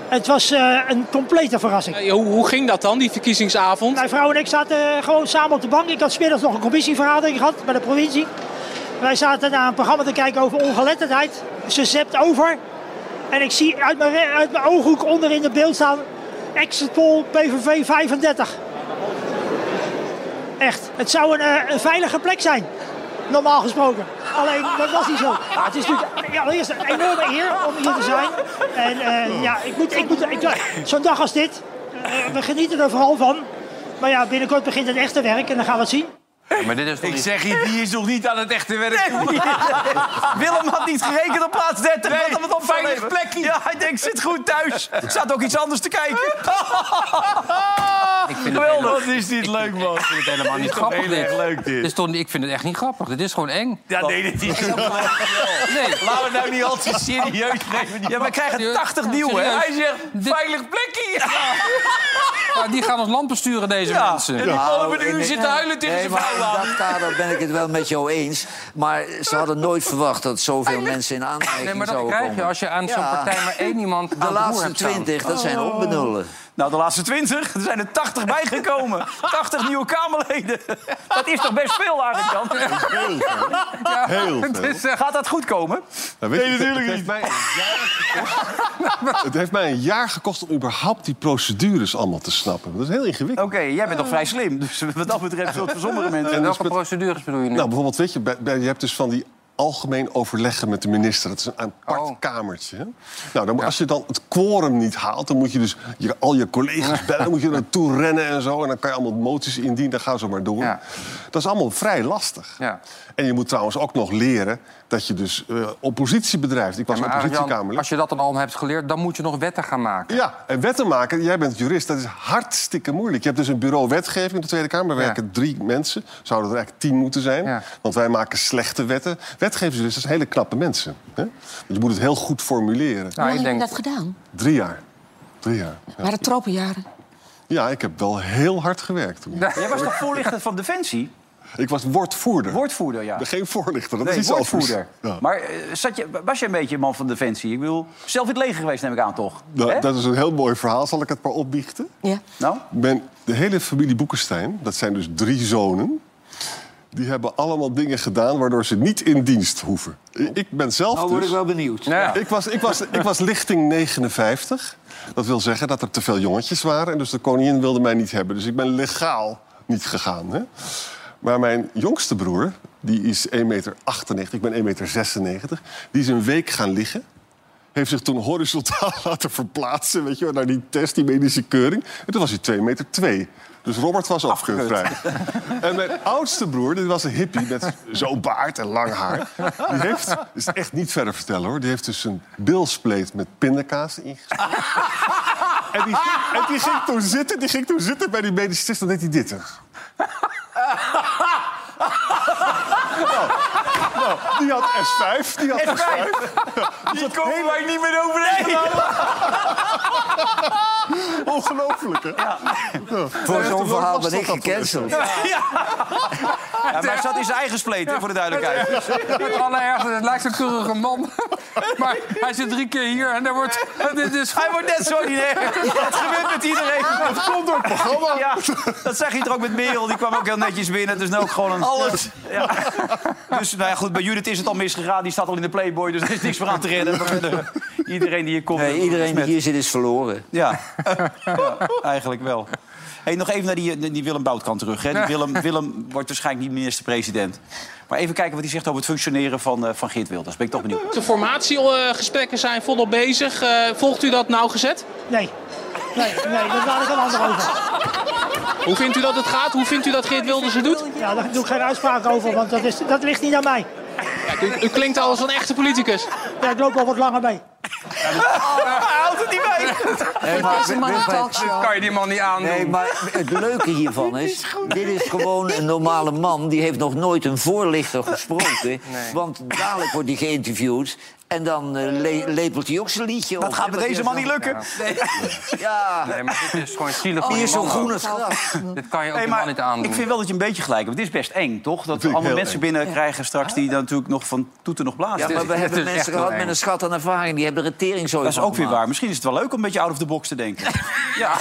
Speaker 7: Het was eh, een complete verrassing.
Speaker 8: Ja, Eh, hoe, hoe ging dat dan, die verkiezingsavond?
Speaker 7: Mijn vrouw en ik zaten eh, gewoon samen op de bank. Ik had 's middags nog een commissievergadering gehad bij de provincie. Wij zaten naar een programma te kijken over ongeletterdheid. Ze zept over. En ik zie uit mijn, re- uit mijn ooghoek onder in het beeld staan... Exit poll PVV 35. Echt, het zou een, eh, een veilige plek zijn. Normaal gesproken. Alleen, dat was niet zo. Ja, het is natuurlijk ja, allereerst een enorme eer om hier te zijn. En eh, ja, ik moet, ik moet, ik- zo'n dag als dit, eh, we genieten er vooral van. Maar ja, binnenkort begint het echte werk en dan gaan we het zien.
Speaker 5: wordt. Maar dit is toch
Speaker 6: Ik
Speaker 5: niet-
Speaker 6: zeg je, die is nog niet aan het echte werk.
Speaker 1: Willem had niet gerekend op plaats 30.
Speaker 6: Nee,
Speaker 1: wat hem het op zou
Speaker 6: veilig
Speaker 1: leveren.
Speaker 6: plekje.
Speaker 1: Ja, hij denkt, zit goed thuis. Ik zat ook iets anders te kijken.
Speaker 3: Oh,
Speaker 5: ik vind het
Speaker 1: Geweldig.
Speaker 5: helemaal-
Speaker 1: Dat is niet leuk, man.
Speaker 5: ik vind het helemaal niet grappig.
Speaker 6: heel erg
Speaker 5: dit.
Speaker 6: leuk, dit.
Speaker 5: Dit is toch, niet- ik vind het echt niet grappig. Dit is gewoon eng.
Speaker 6: Ja, nee, dit is
Speaker 5: Nee.
Speaker 6: Laten we nou niet al te serieus nemen.
Speaker 1: Ja, we krijgen
Speaker 5: Ja,
Speaker 1: 80 nieuwe. hè?
Speaker 5: serieus.
Speaker 1: Hij zegt,
Speaker 5: Dit-
Speaker 1: veilig plekje.
Speaker 5: Ja, die gaan ons land besturen, deze
Speaker 1: Ja.
Speaker 5: mensen.
Speaker 1: En die
Speaker 3: Nou,
Speaker 1: mannen met een
Speaker 3: in
Speaker 1: uur
Speaker 3: de-
Speaker 1: zitten huilen tegen
Speaker 3: nee,
Speaker 1: zijn
Speaker 3: maar
Speaker 1: vrouw
Speaker 3: in dat kader ben ik het wel met jou eens. Maar ze hadden nooit verwacht dat zoveel mensen in aanraking
Speaker 5: Nee, maar dat
Speaker 3: zouden
Speaker 5: krijg je
Speaker 3: komen.
Speaker 5: als je aan zo'n
Speaker 3: Ja.
Speaker 5: partij maar één iemand aan
Speaker 3: De
Speaker 5: het roer
Speaker 3: laatste
Speaker 5: hebt staan.
Speaker 3: twintig, dat zijn onbenullen.
Speaker 1: Oh, Nou, de laatste 20, er zijn er 80 bijgekomen. 80 nieuwe Kamerleden. Dat is toch best veel eigenlijk dan?
Speaker 4: Heel veel.
Speaker 6: Dus,
Speaker 5: Het is
Speaker 6: eh,
Speaker 5: echt-
Speaker 1: Gaat dat goed komen?
Speaker 4: Nou, weet je, het- het heeft mij een jaar- Het heeft mij een jaar gekost om überhaupt die procedures allemaal te snappen. Dat is heel ingewikkeld.
Speaker 1: Oké, jij bent nog vrij slim. Dus wat dat betreft zult voor sommige mensen...
Speaker 4: En dat is
Speaker 5: Welke
Speaker 4: dus met-
Speaker 5: procedures bedoel je nu?
Speaker 4: Nou, bijvoorbeeld, weet je, bij, bij- je hebt dus van die algemeen overleggen met de minister. Dat is een apart
Speaker 5: Oh.
Speaker 4: kamertje. hè? Nou, dan, moet- als je dan het quorum niet haalt, dan moet je dus je, al je collega's bellen, dan moet je er naartoe rennen en zo. En dan kan je allemaal moties indienen, dan gaan ze maar door.
Speaker 5: Ja.
Speaker 4: Dat is allemaal vrij lastig.
Speaker 5: Ja.
Speaker 4: En je moet trouwens ook nog leren dat je dus eh, oppositie bedrijft. Ik was
Speaker 5: Maar Arend-Jan,
Speaker 4: oppositiekamerlid.
Speaker 5: als je dat dan al hebt geleerd, dan moet je nog wetten gaan maken.
Speaker 4: Ja, en wetten maken, jij bent jurist, dat is hartstikke moeilijk. Je hebt dus een bureau wetgeving in de Tweede Kamer. Daar
Speaker 5: Ja.
Speaker 4: werken drie mensen. Zouden er eigenlijk tien moeten zijn.
Speaker 5: Ja.
Speaker 4: Want wij maken slechte wetten. Wetgevers dus, dat zijn hele knappe mensen. Hè? Want je moet het heel goed formuleren.
Speaker 2: Hoe
Speaker 5: Nou, ik
Speaker 2: lang heb je
Speaker 5: denk,
Speaker 2: dat gedaan?
Speaker 4: Drie jaar. Drie jaar. Ja.
Speaker 2: Maar de tropenjaren.
Speaker 4: Ja, ik heb wel heel hard gewerkt toen.
Speaker 1: Jij was toch voorlichter van Defensie?
Speaker 4: Ik was woordvoerder.
Speaker 1: Woordvoerder, ja.
Speaker 4: Geen voorlichter, dat
Speaker 1: Nee,
Speaker 4: is iets anders.
Speaker 1: woordvoerder.
Speaker 4: Ja.
Speaker 1: Maar eh, zat je, was je een beetje een man van Defensie? Ik bedoel, zelf in het leger geweest, neem ik aan, toch?
Speaker 4: Nou,
Speaker 1: Hè?
Speaker 4: dat is een heel mooi verhaal. Zal ik het maar opbiechten?
Speaker 2: Ja.
Speaker 1: Nou?
Speaker 4: Ik ben de hele familie Boekenstein, dat zijn dus drie zonen. Die hebben allemaal dingen gedaan waardoor ze niet in dienst hoeven. I- Ik ben zelf
Speaker 3: Nou word ik
Speaker 4: dus...
Speaker 3: wel benieuwd.
Speaker 5: Ja.
Speaker 4: Ik was, ik, was, ik was lichting 59. Dat wil zeggen dat er te veel jongetjes waren. En dus de koningin wilde mij niet hebben. Dus ik ben legaal niet gegaan. Hè? Maar mijn jongste broer, die is 1,98 meter. Ik ben 1,96 meter. Die is een week gaan liggen heeft zich toen horizontaal laten verplaatsen weet je, wel, naar die test, die medische keuring. En toen was hij 2 meter 2. Dus Robert was afkeurvrij. En mijn oudste broer, dit was een hippie met zo'n baard en lang haar. Die heeft, dat is echt niet verder vertellen hoor, die heeft dus een bilspleet met pindakaas ingestoken. En die, ging- en die ging toen zitten, die ging toen zitten bij die medische test, dan deed hij dit. hè. Nou, nou, Nou, die had S5, die had S5.
Speaker 1: Die komen wij niet meer overheen.
Speaker 4: Ongelooflijk, hè?
Speaker 3: Voor
Speaker 4: Echt,
Speaker 3: zo'n
Speaker 4: hoe
Speaker 3: verhaal
Speaker 4: lastig
Speaker 3: ben ik
Speaker 4: dat dan is.
Speaker 3: gecanceld.
Speaker 1: Ja, maar hij zat in zijn eigen spleet, hè, voor de duidelijkheid.
Speaker 5: Het allerergste, het lijkt een keurige man. Maar hij zit drie keer hier en daar wordt... Dit is
Speaker 1: Hij wordt net zo ordinair. Dat gebeurt met iedereen. Dat komt door het programma. Ja, dat zag je er ook met Merel. Die kwam ook heel netjes binnen. Dus nou ook gewoon een... Alles. Ja. Dus nou ja, goed, bij Judith is het al misgegaan. Die staat al in de Playboy, dus er is niks meer aan te redden. Maar verder, iedereen die hier komt... eh,
Speaker 3: Nee, iedereen die hier zit is verloren.
Speaker 1: Ja. ja, eigenlijk wel. Hey, nog even naar die, die Willem Boutkamp terug. Hè. Die Willem, Willem wordt waarschijnlijk niet minister-president. Maar even kijken wat hij zegt over het functioneren van, eh, van Geert Wilders. Ben ik toch benieuwd.
Speaker 8: De formatiegesprekken zijn volop bezig. Eh, volgt u dat nauwgezet?
Speaker 7: Nee. Nee, nee, dat laat ik aan anderen over.
Speaker 8: Hoe vindt u dat het gaat? Hoe vindt u dat Geert Wilders het doet?
Speaker 7: Ja, daar doe ik geen uitspraak over, want dat, is, dat ligt niet aan mij.
Speaker 8: Kijk, u, u klinkt al als een echte politicus.
Speaker 7: Ja, ik loop al wat langer mee.
Speaker 1: Hij Oh, eh, houdt het niet bij.
Speaker 3: Nee, maar,
Speaker 2: is een man een
Speaker 3: Wilfred,
Speaker 2: talkshow.
Speaker 5: Kan je die man niet aandoen?
Speaker 3: nee, maar het leuke hiervan is... dit is gewoon een normale man. Die heeft nog nooit een voorlichter gesproken. Want dadelijk wordt hij geïnterviewd... en dan eh, le- lepelt hij ook zijn liedje op.
Speaker 1: Dat gaat
Speaker 3: hè,
Speaker 1: met
Speaker 3: wat
Speaker 1: deze
Speaker 3: hij
Speaker 1: man niet
Speaker 3: dan-
Speaker 1: lukken.
Speaker 3: Ja,
Speaker 5: Nee, maar dit is gewoon zielig
Speaker 3: Oh,
Speaker 1: Oh,
Speaker 3: die
Speaker 5: van
Speaker 3: is zo
Speaker 5: die man
Speaker 3: groen
Speaker 5: ook.
Speaker 3: als gras.
Speaker 5: Dit kan je ook
Speaker 1: Nee,
Speaker 5: helemaal
Speaker 1: maar
Speaker 5: niet aandoen.
Speaker 1: ik vind wel dat je een beetje gelijk hebt. Het is best eng, toch? Dat we
Speaker 4: ik
Speaker 1: allemaal
Speaker 4: heel
Speaker 1: mensen
Speaker 4: eng.
Speaker 1: binnen krijgen straks... die dan natuurlijk nog van toeten nog blazen.
Speaker 3: Ja, maar we
Speaker 5: het is
Speaker 3: hebben
Speaker 5: echt
Speaker 3: mensen
Speaker 5: heel
Speaker 3: gehad
Speaker 5: eng.
Speaker 3: met een schat aan ervaring. Die hebben er een tering zo
Speaker 1: dat is ook weer waar. Misschien is het wel leuk om een beetje out of the box te denken.
Speaker 5: Ja,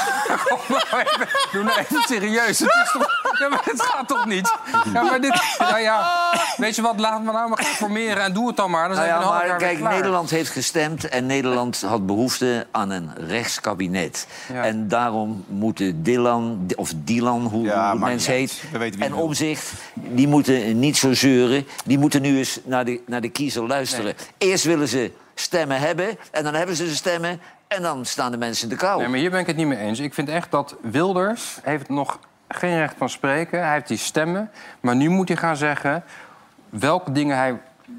Speaker 5: kom nou even. Doe nou even serieus. Het, is toch... ja, maar het gaat toch niet? Ja, maar dit... Nou ja, weet je wat? Laat me nou maar gaan formeren en doe het dan maar. Dan zijn
Speaker 3: Nou
Speaker 5: we
Speaker 3: ja,
Speaker 5: een
Speaker 3: maar
Speaker 5: half jaar weer
Speaker 3: kijk,
Speaker 5: klaar.
Speaker 3: Nederland heeft gestemd en Nederland had behoefte aan een rechtskabinet.
Speaker 5: Ja.
Speaker 3: En daarom moeten Dylan, of Dylan, hoe,
Speaker 1: Ja,
Speaker 3: hoe het
Speaker 1: maakt
Speaker 3: mens
Speaker 1: niet
Speaker 3: heet,
Speaker 1: uit. We weten wie
Speaker 3: en
Speaker 1: het wil.
Speaker 3: Omzicht, die moeten niet zo zeuren. Die moeten nu eens naar de, naar de kiezer luisteren. Eerst willen ze stemmen hebben en dan hebben ze de stemmen en dan staan de mensen in de kou.
Speaker 5: Nee, maar hier ben ik het niet mee eens. Ik vind echt dat Wilders heeft nog geen recht van spreken. Hij heeft die stemmen. Maar nu moet hij gaan zeggen welke dingen hij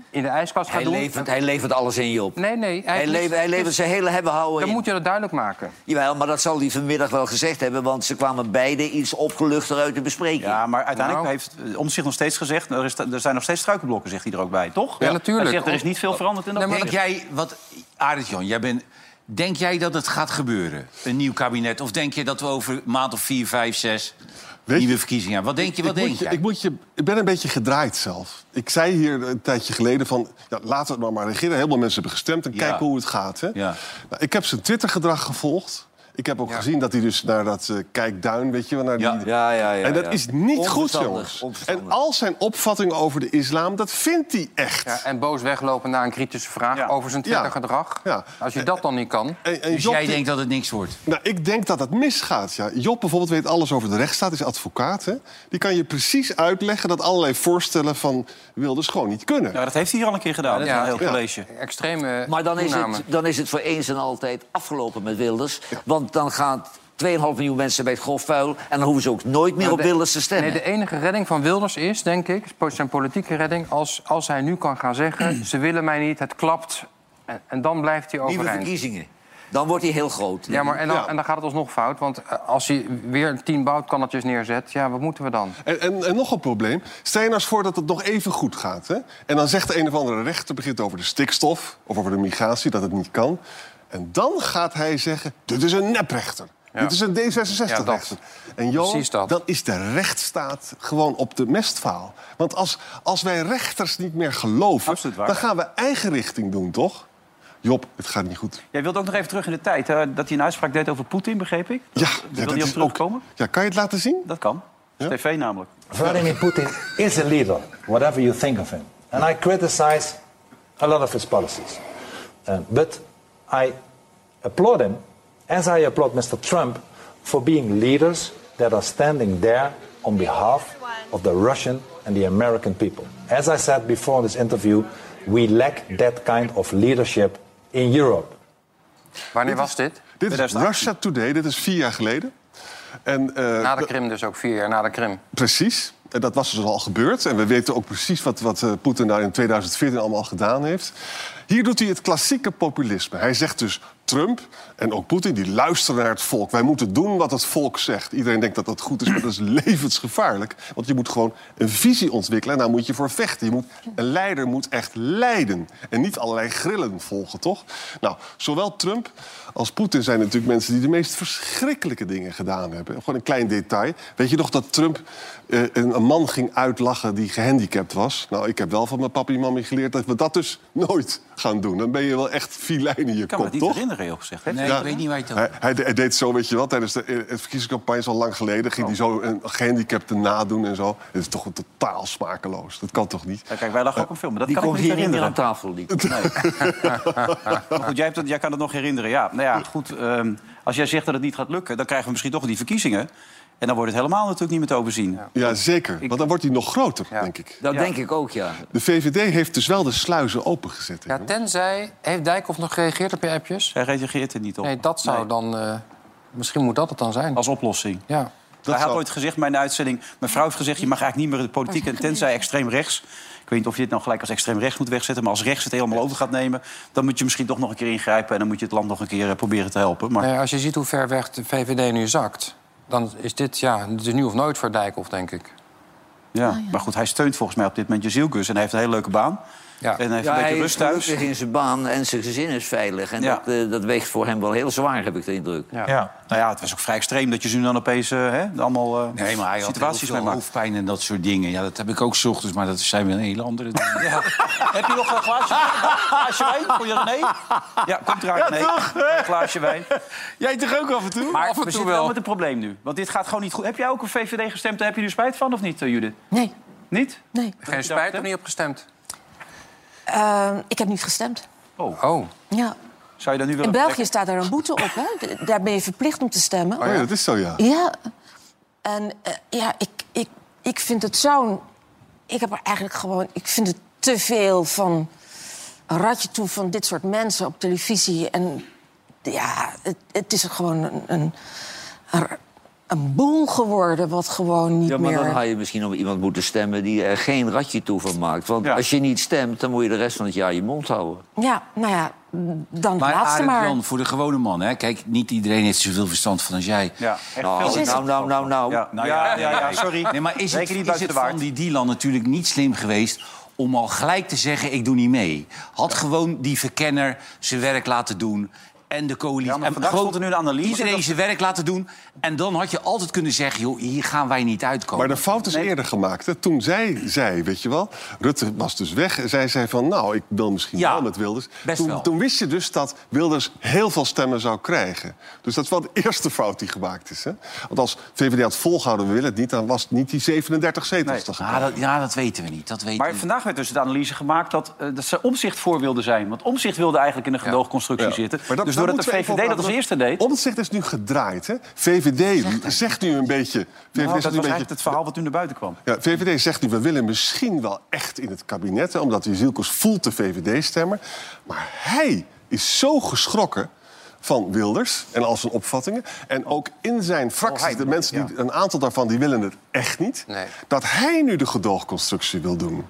Speaker 5: in de ijskast gaat
Speaker 3: hij,
Speaker 5: doen.
Speaker 3: levert, hij levert alles in je op.
Speaker 5: Nee, nee.
Speaker 3: Hij,
Speaker 5: heeft
Speaker 3: levert,
Speaker 5: niks-
Speaker 3: hij levert zijn hele hebben houden
Speaker 5: Dan
Speaker 3: in.
Speaker 5: moet je dat duidelijk maken.
Speaker 3: Jawel, maar dat zal hij vanmiddag wel gezegd hebben... want ze kwamen beide iets opgeluchter uit de bespreking.
Speaker 1: Ja, maar uiteindelijk
Speaker 5: Nou.
Speaker 1: heeft eh, Omtzigt nog steeds gezegd... Er, is, er zijn nog steeds struikelblokken, zegt hij er ook bij, toch?
Speaker 5: Ja, natuurlijk.
Speaker 1: Hij zegt, er is niet veel veranderd in dat
Speaker 5: Nee, maar
Speaker 1: proces.
Speaker 6: Denk Oh. jij, wat, Arend Jan, jij bent, denk jij dat het gaat gebeuren? Een nieuw kabinet? Of denk je dat we over een maand of vier, vijf, zes
Speaker 4: Weet je-
Speaker 6: nieuwe verkiezingen hebben? Wat denk je, wat
Speaker 4: ik,
Speaker 6: denk
Speaker 4: moet je,
Speaker 6: jij?
Speaker 4: ik, moet je, ik ben een beetje gedraaid zelf. Ik zei hier een tijdje geleden van... Ja, laten we het maar maar regeren. Heel veel mensen hebben gestemd en
Speaker 6: Ja.
Speaker 4: kijken hoe het gaat. Hè?
Speaker 6: Ja.
Speaker 4: Nou, ik heb zijn Twitter-gedrag gevolgd. Ik heb ook gezien dat hij dus naar dat eh, kijkduin, weet je wel... Naar
Speaker 6: Ja.
Speaker 4: die,
Speaker 3: Ja, ja, ja,
Speaker 4: en dat
Speaker 3: ja.
Speaker 4: is niet goed,
Speaker 3: Onverstandig,
Speaker 4: jongens.
Speaker 3: onverstandig.
Speaker 4: En al zijn opvattingen over de islam, dat vindt hij echt.
Speaker 5: Ja, en boos weglopen na een kritische vraag
Speaker 1: Ja.
Speaker 5: over zijn
Speaker 4: Ja.
Speaker 5: Twittergedrag.
Speaker 4: Ja.
Speaker 5: Als je dat dan niet kan.
Speaker 4: En, en
Speaker 6: Dus
Speaker 4: Job
Speaker 6: jij
Speaker 4: die-
Speaker 6: denkt dat het niks wordt?
Speaker 4: Nou, ik denk dat dat misgaat. Ja. Job bijvoorbeeld weet alles over de rechtsstaat, is advocaat. Hè? Die kan je precies uitleggen dat allerlei voorstellen van Wilders gewoon niet kunnen.
Speaker 1: Ja, Nou, dat heeft hij hier al een keer gedaan, dat
Speaker 5: Ja.
Speaker 1: een heel
Speaker 4: Ja.
Speaker 1: college.
Speaker 5: Extreme
Speaker 3: Maar dan is,
Speaker 5: toename.
Speaker 3: het, dan is het voor eens en altijd afgelopen met Wilders. Want dan gaan 2,5 miljoen mensen bij het grof vuil... en dan hoeven ze ook nooit meer op
Speaker 5: de-
Speaker 3: Wilders te stemmen.
Speaker 5: Nee, de enige redding van Wilders is, denk ik, zijn politieke redding... als, als hij nu kan gaan zeggen, ze willen mij niet, het klapt. En, en dan blijft hij
Speaker 3: Nieuwe
Speaker 5: E overeind.
Speaker 3: verkiezingen. Dan wordt hij heel groot.
Speaker 5: Ja, maar en dan,
Speaker 4: Ja.
Speaker 5: en dan gaat het alsnog fout. Want eh, als hij weer tien boutkannetjes neerzet, ja, wat moeten we dan?
Speaker 4: En, en, en nog een probleem. Stel je nou eens voor dat het nog even goed gaat. Hè? En dan zegt de een of andere rechter begint over de stikstof... of over de migratie, dat het niet kan. En dan gaat hij zeggen, dit is een neprechter. Dit is een
Speaker 5: Ja, dat.
Speaker 4: D66-rechter. en joh,
Speaker 5: Precies dat.
Speaker 4: dan is de rechtsstaat gewoon op de mestvaal. Want als, als wij rechters niet meer geloven...
Speaker 1: Absoluut waar.
Speaker 4: dan gaan we eigen richting doen, toch? Job, het gaat niet goed.
Speaker 1: Jij wilt ook nog even terug in de tijd, hè, dat hij een uitspraak deed over Poetin, begreep ik?
Speaker 4: Ja, ja,
Speaker 1: Wil je op
Speaker 4: is
Speaker 1: terugkomen?
Speaker 4: Ja, kan je het laten zien?
Speaker 1: Dat kan. TV namelijk.
Speaker 9: Vladimir Putin is a leader, whatever you think of him. And I criticize a lot of his policies. Uh, but I applaud him, as I applaud Mr. Trump, for being leaders that are standing there on behalf of the Russian and the American people. As I said before in this interview, we lack that kind of leadership in Europe.
Speaker 5: Wanneer was dit?
Speaker 4: Dit is
Speaker 1: 2018.
Speaker 4: Russia Today, dit is vier jaar geleden. En, eh,
Speaker 5: Na
Speaker 4: de-
Speaker 5: de Krim dus ook, vier jaar na de Krim.
Speaker 4: Precies. En dat was dus al gebeurd. En we weten ook precies wat, wat eh, Poetin daar in 2014 allemaal gedaan heeft. Hier doet hij het klassieke populisme. Hij zegt dus, Trump en ook Poetin, die luisteren naar het volk. Wij moeten doen wat het volk zegt. Iedereen denkt dat dat goed is, maar dat is levensgevaarlijk. Want je moet gewoon een visie ontwikkelen en daar moet je voor vechten. Je moet, een leider moet echt leiden en niet allerlei grillen volgen, toch? Nou, zowel Trump als Poetin zijn natuurlijk mensen... die de meest verschrikkelijke dingen gedaan hebben. Gewoon een klein detail. Weet je nog dat Trump eh, een, een man ging uitlachen die gehandicapt was? Nou, ik heb wel van mijn papi en mammi geleerd dat we dat dus nooit gaan doen. Dan ben je wel echt filijn in je
Speaker 1: kan me
Speaker 4: kop,
Speaker 1: dat niet
Speaker 4: toch?
Speaker 1: herinneren, heel gezegd. Hè?
Speaker 6: Nee,
Speaker 4: Ja.
Speaker 6: ik weet niet waar je het over
Speaker 4: Hij, hij de- hij deed zo, weet je wat, tijdens de eh, verkiezingscampagne is al lang geleden...
Speaker 1: Oh.
Speaker 4: ging hij zo een gehandicapte nadoen en zo. Het is toch totaal smakeloos. Dat kan toch niet?
Speaker 1: Ja, kijk, wij lachen ook een film. maar Dat
Speaker 3: Die
Speaker 1: kan ik
Speaker 3: komt
Speaker 1: me niet
Speaker 3: hier niet meer
Speaker 1: herinneren.
Speaker 3: aan tafel. Die.
Speaker 1: Maar goed, jij, hebt dat, jij kan het nog herinneren. Ja, nou ja, goed. ehm, als jij zegt dat het niet gaat lukken, dan krijgen we misschien toch die verkiezingen. En dan wordt het helemaal natuurlijk niet meer te overzien.
Speaker 4: Ja, zeker. Want dan wordt hij nog groter,
Speaker 5: Ja.
Speaker 4: denk ik.
Speaker 3: Dat
Speaker 1: Ja.
Speaker 3: denk ik ook, ja.
Speaker 4: De VVD heeft dus wel de sluizen opengezet. hè,
Speaker 5: Ja,
Speaker 4: jongen.
Speaker 5: tenzij... Heeft Dijkhoff nog gereageerd op je appjes?
Speaker 1: Hij reageert er niet op.
Speaker 5: Nee, dat zou
Speaker 1: Nee.
Speaker 5: dan... eh, misschien moet dat het dan zijn.
Speaker 1: Als oplossing.
Speaker 5: Ja.
Speaker 1: Hij had
Speaker 4: zou-
Speaker 1: ooit gezegd, mijn uitzending... Mijn vrouw heeft gezegd, je mag eigenlijk niet meer in de politiek... en tenzij extreem rechts... Ik weet niet of je dit nou gelijk als extreem rechts moet wegzetten... maar als rechts het helemaal over gaat nemen... dan moet je misschien toch nog een keer ingrijpen... en dan moet je het land nog een keer eh, proberen te helpen. Maar
Speaker 5: Nee, Nou als je ziet hoe ver weg de VVD nu zakt... dan is dit, ja, het is nu of nooit voor Dijkhoff, denk ik.
Speaker 1: Ja, maar goed, hij steunt volgens mij op dit moment Jezil Gus. En hij heeft een hele leuke baan.
Speaker 5: Ja.
Speaker 1: En hij heeft
Speaker 3: Ja,
Speaker 1: een
Speaker 3: hij
Speaker 1: beetje
Speaker 3: is
Speaker 1: rust thuis.
Speaker 3: gelukkig in zijn baan en zijn gezin is veilig. En
Speaker 1: Ja.
Speaker 3: dat, eh, dat weegt voor hem wel heel zwaar, heb ik de indruk.
Speaker 9: Ja.
Speaker 1: Nou ja, het was ook vrij extreem dat je nu dan opeens eh, hè, allemaal eh,
Speaker 6: Nee, maar hij had heel
Speaker 1: situaties mee
Speaker 6: veel
Speaker 1: maakt.
Speaker 6: hoofdpijn en dat soort dingen. Ja, dat heb ik ook 's ochtends, maar dat zijn weer een hele andere dingen. Ja.
Speaker 1: Heb je nog een glaasje, glaasje wijn voor je René? Ja, komt eruit, nee. Een glaasje wijn.
Speaker 6: Jij toch ook af en toe?
Speaker 1: Maar
Speaker 5: Af en
Speaker 1: we
Speaker 5: toe
Speaker 1: zitten
Speaker 5: wel.
Speaker 1: wel met een probleem nu. Want dit gaat gewoon niet goed. Heb jij ook een VVD gestemd? Daar heb je nu spijt van, of niet, eh, Judith?
Speaker 2: Nee,
Speaker 1: Niet?
Speaker 2: nee.
Speaker 5: Geen spijt, er niet op gestemd.
Speaker 2: Ehm, ik heb niet gestemd.
Speaker 5: Oh,
Speaker 2: Ja.
Speaker 1: Zou je dan nu
Speaker 2: In
Speaker 1: willen...
Speaker 2: België staat daar een boete op, hè? D- Daar ben je verplicht om te stemmen.
Speaker 4: Oh ja, dat is zo, ja.
Speaker 2: Ja. En eh, ja, ik, ik, ik vind het zo'n... Ik heb er eigenlijk gewoon... Ik vind het te veel van... Een ratje toe van dit soort mensen op televisie. En ja, het, het is gewoon een, een, een boel geworden wat gewoon niet
Speaker 3: Ja, maar
Speaker 2: meer...
Speaker 3: dan had je misschien op iemand moeten stemmen die er geen ratje toe van maakt. Want
Speaker 1: Ja.
Speaker 3: als je niet stemt, dan moet je de rest van het jaar je mond houden.
Speaker 2: Ja, nou ja, dan
Speaker 6: Maar
Speaker 2: laatste
Speaker 6: Arend
Speaker 2: maar.
Speaker 6: Jan, voor de gewone man, hè? Kijk, niet iedereen heeft zoveel verstand van als jij.
Speaker 1: Ja, echt veel
Speaker 3: Nou,
Speaker 1: te-
Speaker 3: nou, nou, nou, nou.
Speaker 1: Ja, nou ja, ja, ja, sorry.
Speaker 6: Nee, maar is het,
Speaker 1: Reken niet
Speaker 6: is
Speaker 1: buiten
Speaker 6: het
Speaker 1: de waard.
Speaker 6: van die Dylan natuurlijk niet slim geweest... om al gelijk te zeggen, ik doe niet mee? Had gewoon die verkenner zijn werk laten doen... en de coalitie...
Speaker 1: Ja, maar
Speaker 6: en
Speaker 1: vandaag
Speaker 6: gewoon
Speaker 1: stond er nu een analyse
Speaker 6: Iedereen
Speaker 1: dat-
Speaker 6: zijn werk laten doen. En dan had je altijd kunnen zeggen, joh, hier gaan wij niet uitkomen.
Speaker 4: Maar de fout is eerder gemaakt. Hè? Toen zij zei, weet je wel, Rutte was dus weg. En zij zei van, nou, ik wil misschien
Speaker 6: Ja,
Speaker 4: wel met Wilders.
Speaker 6: best
Speaker 4: toen,
Speaker 6: wel.
Speaker 4: toen wist je dus dat Wilders heel veel stemmen zou krijgen. Dus dat is wel de eerste fout die gemaakt is. Hè? Want als VVD had volgehouden, we willen het niet... dan was het niet die 37 zetels
Speaker 1: Nee. Ah,
Speaker 4: te gaan.
Speaker 6: ja, Ah, dat, ja, dat weten we niet. Dat weten
Speaker 1: Maar
Speaker 6: we niet.
Speaker 1: vandaag werd dus de analyse gemaakt dat, eh, dat ze omzicht voor wilden zijn. Want omzicht wilde eigenlijk in een gedoogconstructie
Speaker 4: Ja.
Speaker 1: zitten.
Speaker 4: Maar dat-
Speaker 1: dus
Speaker 4: daar
Speaker 1: doordat de
Speaker 4: moeten we
Speaker 1: VVD
Speaker 4: even over
Speaker 1: dat als
Speaker 4: praten.
Speaker 1: eerste deed...
Speaker 4: Omtzigt is nu gedraaid. Hè? VVD zegt nu een beetje... VVD
Speaker 1: Nou, dat was
Speaker 4: zegt nu een beetje
Speaker 1: eigenlijk het verhaal wat toen naar buiten kwam.
Speaker 4: Ja, VVD zegt nu, we willen misschien wel echt in het kabinet... hè, omdat die Zielkos voelt de VVD-stemmer. Maar hij is zo geschrokken van Wilders en al zijn opvattingen... en ook in
Speaker 1: Oh,
Speaker 4: zijn fracties, de mensen, die, een aantal daarvan... die willen het echt niet,
Speaker 5: Nee.
Speaker 4: dat hij nu de gedoogconstructie wil doen.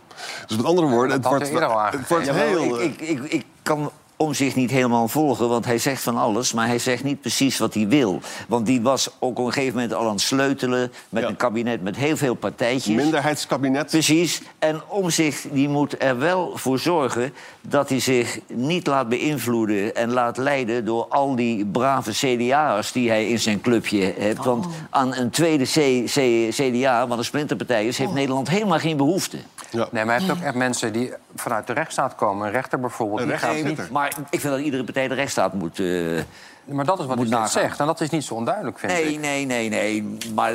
Speaker 4: Dus met andere woorden, het
Speaker 5: had
Speaker 4: wordt,
Speaker 5: hij eerder al
Speaker 4: het wordt
Speaker 3: Jawel,
Speaker 4: heel... eh,
Speaker 3: ik, ik, ik, ik kan om zich niet helemaal volgen, want hij zegt van alles... maar hij zegt niet precies wat hij wil. Want die was ook op een gegeven moment al aan het sleutelen... met
Speaker 4: Ja.
Speaker 3: een kabinet met heel veel partijtjes.
Speaker 4: minderheidskabinet.
Speaker 3: Precies. En Omzicht die moet er wel voor zorgen dat hij zich niet laat beïnvloeden en laat leiden door al die brave CDA'ers die hij in zijn clubje heeft. Want
Speaker 5: Oh.
Speaker 3: aan een tweede C- C- CDA, wat een splinterpartij is, heeft Nederland helemaal geen behoefte.
Speaker 5: Oh. nee, maar je hebt ook echt mensen die vanuit de rechtsstaat komen. Een rechter bijvoorbeeld.
Speaker 4: Een
Speaker 5: die
Speaker 4: rechter.
Speaker 5: gaat-
Speaker 4: zit er.
Speaker 3: Maar ik vind dat iedere partij de rechtsstaat moet. eh,
Speaker 5: Maar dat is wat
Speaker 3: Moet
Speaker 5: hij net
Speaker 3: nagaan.
Speaker 5: zegt. En dat is niet zo onduidelijk, vind ik.
Speaker 3: Nee, nee, nee, nee. Maar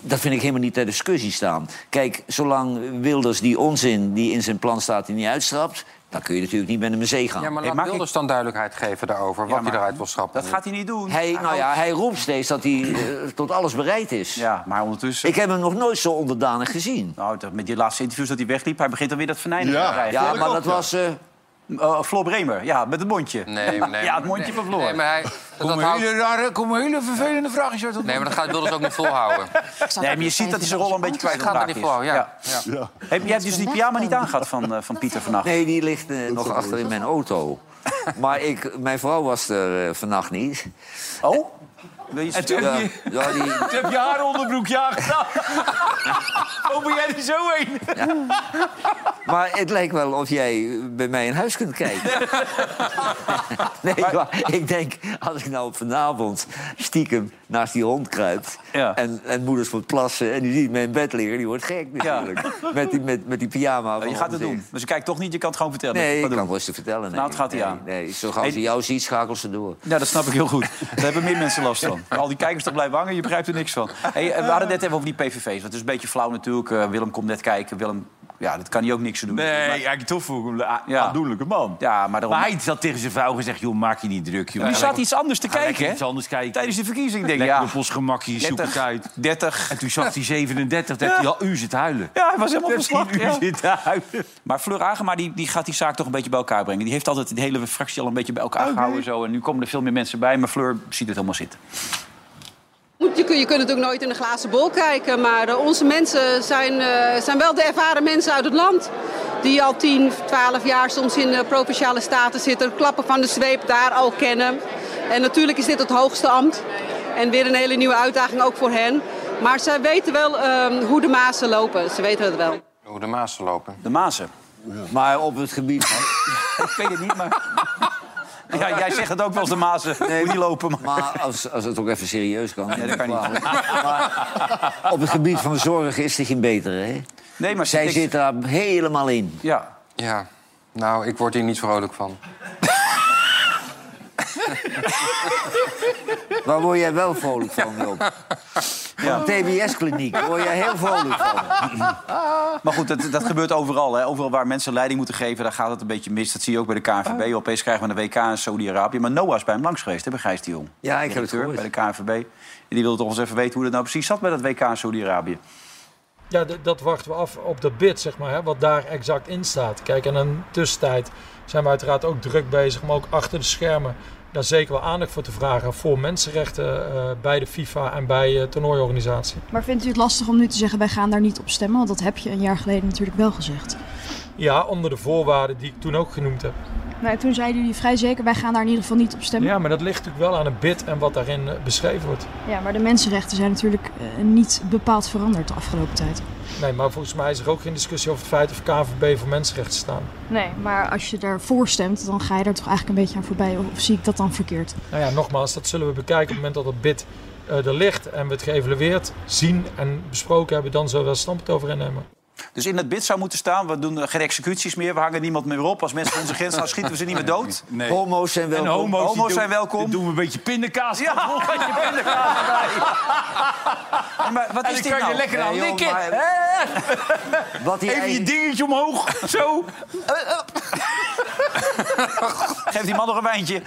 Speaker 3: dat vind ik helemaal niet ter discussie staan. Kijk, zolang Wilders die onzin die in zijn plan staat, die niet uitstrapt, dan kun je natuurlijk niet met hem in zee gaan.
Speaker 5: Ja, maar
Speaker 1: Hey,
Speaker 5: laat
Speaker 1: maak
Speaker 5: Wilders dus dan duidelijkheid geven daarover... wat hij
Speaker 1: maar
Speaker 5: eruit wil schrappen.
Speaker 1: Dat gaat hij niet doen.
Speaker 3: Hij, nou ja, hij roept steeds dat hij eh, tot alles bereid is.
Speaker 1: Ja, maar ondertussen...
Speaker 3: Ik heb hem nog nooit zo onderdanig gezien.
Speaker 1: Nou, dat- met die laatste interviews dat hij wegliep, hij begint dan weer dat venijn
Speaker 4: Ja.
Speaker 1: te krijgen.
Speaker 3: Ja,
Speaker 4: ik
Speaker 3: maar
Speaker 4: ook,
Speaker 3: dat
Speaker 4: ja.
Speaker 3: was... eh,
Speaker 1: Eh, Floor Bremer, ja, met het mondje.
Speaker 5: Nee, nee.
Speaker 1: ja, het mondje van Floor.
Speaker 5: Nee, maar hij... Dat
Speaker 6: Een
Speaker 5: houdt...
Speaker 6: hele rare, kom een hele vervelende vraag is uit
Speaker 5: Nee, maar dat gaat Wilders ook niet volhouden.
Speaker 1: Nee, maar je ziet dat hij zijn rol al een beetje
Speaker 5: Hij
Speaker 1: kwijt
Speaker 5: gaat er
Speaker 1: geraakt
Speaker 5: niet
Speaker 1: is.
Speaker 5: volhouden, ja. ja.
Speaker 1: Heb, jij hebt dus die pyjama niet aangehad van, eh, van Pieter vannacht?
Speaker 3: Nee, die ligt eh, nog achter in mijn auto. maar ik, mijn vrouw was er eh, vannacht niet.
Speaker 1: Oh? Wil je
Speaker 3: Ja,
Speaker 1: Ja.
Speaker 3: ja, die,
Speaker 6: Toen heb je haar onderbroek ja gedaan. Hoe ben jij er zo heen?
Speaker 3: maar het lijkt wel of jij bij mij in huis kunt kijken. nee, maar ik denk, als ik nou vanavond stiekem naast die hond kruip...
Speaker 1: Ja.
Speaker 3: En, en moeders moet plassen en die ziet mij in bed liggen... die wordt gek natuurlijk. Met, die, met, met die pyjama.
Speaker 1: Je
Speaker 3: van
Speaker 1: gaat het
Speaker 3: hond.
Speaker 1: doen. Dus je kijkt toch niet, je kan het gewoon vertellen.
Speaker 3: Nee, ik
Speaker 1: Wat
Speaker 3: kan
Speaker 1: doen.
Speaker 3: het rustig vertellen. Nee.
Speaker 1: Nou, het gaat hij
Speaker 3: nee,
Speaker 1: aan.
Speaker 3: Nee, zo gauw
Speaker 1: Hey,
Speaker 3: ze jou ziet, schakelt ze door.
Speaker 1: Ja, dat snap ik heel goed. Daar hebben meer mensen last van. Al die kijkers toch blijven hangen, je begrijpt er niks van. Hey, eh, we hadden het net even over die PVV's. Want het is een beetje flauw natuurlijk. Eh, Willem komt net kijken. Willem, ja, dat kan hij ook niks aan doen.
Speaker 10: Nee,
Speaker 1: Maar-
Speaker 10: eigenlijk tof voor een
Speaker 1: Ja.
Speaker 10: aandoenlijke man.
Speaker 1: ja, maar daarom...
Speaker 6: Maar hij had tegen zijn vrouw gezegd, joh, maak je niet druk. Joh.
Speaker 1: nu zat hij iets anders te kijken,
Speaker 6: Lekker
Speaker 1: hè?
Speaker 6: iets anders kijken.
Speaker 1: Tijdens de verkiezing, denk ik.
Speaker 6: Lekker
Speaker 1: Ja,
Speaker 6: op ons gemakje, zoek het uit.
Speaker 1: 30.
Speaker 6: En toen zag hij 37, dacht hij, ja, u zit huilen.
Speaker 1: Ja, hij was helemaal
Speaker 6: Dacht hij,
Speaker 1: verslag.
Speaker 6: U zit huilen.
Speaker 1: Maar Fleur Agema die, die gaat die zaak toch een beetje bij elkaar brengen. Die heeft altijd de hele fractie al een beetje bij elkaar gehouden. Zo. En nu komen er veel meer mensen bij. Maar Fleur ziet het helemaal zitten.
Speaker 8: Je, kun- je kunt natuurlijk nooit in een glazen bol kijken, maar eh, onze mensen zijn, eh, zijn wel de ervaren mensen uit het land. Die al 10, 12 jaar soms in de provinciale staten zitten, klappen van de zweep daar al kennen. En natuurlijk is dit het hoogste ambt en weer een hele nieuwe uitdaging ook voor hen. Maar zij weten wel eh, hoe de mazen lopen, ze weten het wel.
Speaker 5: Hoe de Maas lopen.
Speaker 1: De Mazen.
Speaker 3: Maar op het gebied van
Speaker 1: Ik weet het niet, maar... Ja, jij zegt het ook wel eens, de Mazen. Nee, die lopen. Maar...
Speaker 3: Maar als, als het ook even serieus kan.
Speaker 1: Nee, dat kan niet.
Speaker 3: Maar op het gebied van zorg is er geen betere. Hè?
Speaker 1: Nee, maar ze
Speaker 3: Zij
Speaker 1: denkt-
Speaker 3: zit daar helemaal in.
Speaker 1: Ja.
Speaker 5: Ja. Nou, ik word hier niet vrolijk van.
Speaker 3: Waar word jij wel vrolijk van, Joop? Van TBS-kliniek daar word jij heel vrolijk van.
Speaker 1: Maar goed, dat, dat gebeurt overal. Hè. Overal waar mensen leiding moeten geven, daar gaat het een beetje mis. Dat zie je ook bij de KNVB. Opeens krijgen we een WK in Saudi-Arabië. Maar Noah is bij hem langs geweest, hè, bij Gijs de Jong.
Speaker 3: Ja, ik heb het
Speaker 1: Directeur
Speaker 3: gehoord.
Speaker 1: Bij de KNVB. En die wilde toch eens even weten hoe dat nou precies zat bij dat WK in Saudi-Arabië.
Speaker 9: Ja, d- dat wachten we af op de bid, zeg maar, hè, wat daar exact in staat. Kijk, en in de tussentijd zijn we uiteraard ook druk bezig om ook achter de schermen daar zeker wel aandacht voor te vragen voor mensenrechten eh, bij de FIFA en bij eh toernooiorganisatie.
Speaker 8: Maar vindt u het lastig om nu te zeggen, wij gaan daar niet op stemmen? Want dat heb je een jaar geleden natuurlijk wel gezegd.
Speaker 9: Ja, onder de voorwaarden die ik toen ook genoemd heb.
Speaker 8: Nou, toen zeiden jullie vrij zeker, wij gaan daar in ieder geval niet op stemmen.
Speaker 9: Ja, maar dat ligt natuurlijk wel aan een bid en wat daarin eh, beschreven wordt.
Speaker 8: Ja, maar de mensenrechten zijn natuurlijk eh, niet bepaald veranderd de afgelopen tijd.
Speaker 9: Nee, maar volgens mij is er ook geen discussie over het feit of KVB voor mensenrechten staan.
Speaker 8: Nee, maar als je daarvoor stemt, dan ga je daar toch eigenlijk een beetje aan voorbij. Of zie ik dat dan verkeerd?
Speaker 9: Nou ja, nogmaals, dat zullen we bekijken op het moment dat het bid eh, er ligt en we het geëvalueerd zien en besproken hebben, dan zullen we daar standpunt over innemen.
Speaker 1: Dus in dat bid zou moeten staan, we doen eh, geen executies meer. We hangen niemand meer op. Als mensen onze grens gaan, schieten we ze niet meer dood.
Speaker 6: Nee.
Speaker 3: Homo's zijn wel...
Speaker 6: En homo's, die
Speaker 1: Homo's
Speaker 6: doen-
Speaker 1: zijn welkom.
Speaker 6: die Doen we een beetje pindakaas.
Speaker 1: Ja, wat je bent er klaar bij. Ja, maar wat
Speaker 6: En
Speaker 1: is dit
Speaker 6: dan kan
Speaker 1: nou?
Speaker 6: je lekker aan
Speaker 3: Nee, joh,
Speaker 6: likken.
Speaker 3: maar- Wat die
Speaker 6: Even je
Speaker 3: eigen-
Speaker 6: dingetje omhoog. Zo.
Speaker 1: Geef die man nog een wijntje.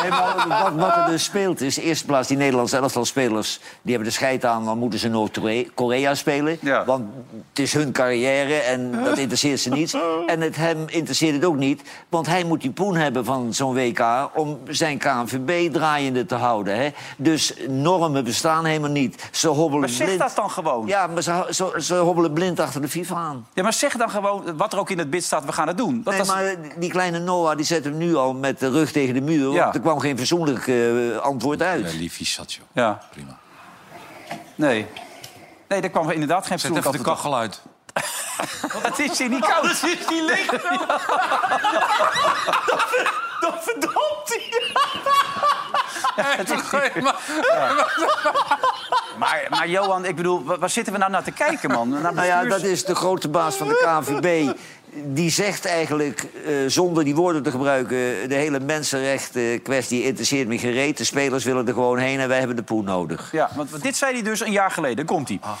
Speaker 3: Nee, maar wat, wat er dus speelt is, in eerste plaats die Nederlandse elftalspelers... die hebben de scheid aan, dan moeten ze Noord-Korea spelen.
Speaker 1: Ja.
Speaker 3: Want het is hun carrière en dat interesseert ze niet. En het hem interesseert het ook niet, want hij moet die poen hebben van zo'n WK... om zijn KNVB draaiende te houden. Hè? Dus normen bestaan helemaal niet. Ze hobbelen
Speaker 1: Maar zeg
Speaker 3: blind...
Speaker 1: dat dan gewoon.
Speaker 3: Ja, maar ze, ze, ze hobbelen blind achter de FIFA aan.
Speaker 1: Ja, maar zeg dan gewoon wat er ook in het bid staat, we gaan het doen. Dat
Speaker 3: Nee,
Speaker 1: was-
Speaker 3: maar die kleine Noah die zet hem nu al met de rug tegen de muur.
Speaker 1: Ja.
Speaker 3: Want er kwam geen verzoenlijk eh, antwoord uit.
Speaker 6: Liefie zat, joh.
Speaker 1: Ja,
Speaker 6: Prima.
Speaker 1: nee. Nee, daar kwam inderdaad geen
Speaker 6: Zet
Speaker 1: verzoek
Speaker 6: even de
Speaker 1: af.
Speaker 6: kachel uit.
Speaker 1: Het is hier niet koud. Het is hier licht.
Speaker 6: Dat verdomd
Speaker 1: Maar, maar Johan, ik bedoel, wa- waar zitten we nou naar te kijken, man? Naar
Speaker 3: Nou ja,
Speaker 1: bestuurs-
Speaker 3: dat is de grote baas van de KNVB. Die zegt eigenlijk, eh, zonder die woorden te gebruiken... de hele mensenrechten kwestie interesseert me gereed. De spelers willen er gewoon heen en wij hebben de poen nodig.
Speaker 1: Ja, want want dit zei hij dus een jaar geleden. Komt
Speaker 3: Ah,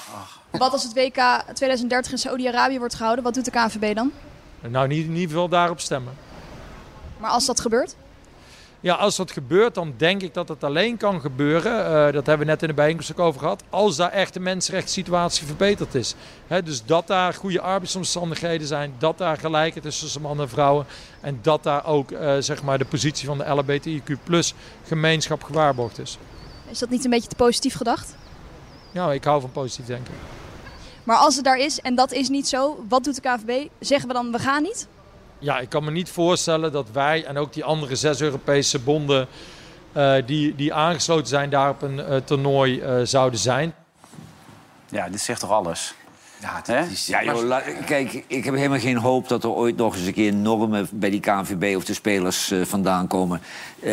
Speaker 1: hij?
Speaker 8: Wat als het WK 2030 in Saudi-Arabië wordt gehouden? Wat doet de KNVB dan?
Speaker 9: Nou, niet, niet veel daarop stemmen.
Speaker 8: Maar als dat gebeurt?
Speaker 10: Ja, als dat gebeurt, dan denk ik dat het alleen kan gebeuren. eh, dat hebben we net in de bijeenkomst ook over gehad. Als daar echt de mensenrechtssituatie verbeterd is. Hè, dus dat daar goede arbeidsomstandigheden zijn. Dat daar gelijkheid is tussen mannen en vrouwen. En dat daar ook eh, zeg maar de positie van de LHBTIQ gemeenschap gewaarborgd is.
Speaker 11: Is dat niet een beetje te positief gedacht?
Speaker 10: Ja, ik hou van positief denken.
Speaker 11: Maar als het daar is en dat is niet zo, wat doet de KVB? Zeggen we dan we gaan niet?
Speaker 10: Ja, ik kan me niet voorstellen dat wij en ook die andere zes Europese bonden eh, die, die aangesloten zijn daar op een eh, toernooi eh, zouden zijn.
Speaker 1: Ja, dit zegt toch alles?
Speaker 3: Ja,
Speaker 1: het
Speaker 3: is,
Speaker 1: ja,
Speaker 3: joh,
Speaker 1: joh,
Speaker 3: la- kijk, ik heb helemaal geen hoop dat er ooit nog eens een keer normen bij die KNVB of de spelers eh, vandaan komen. Eh,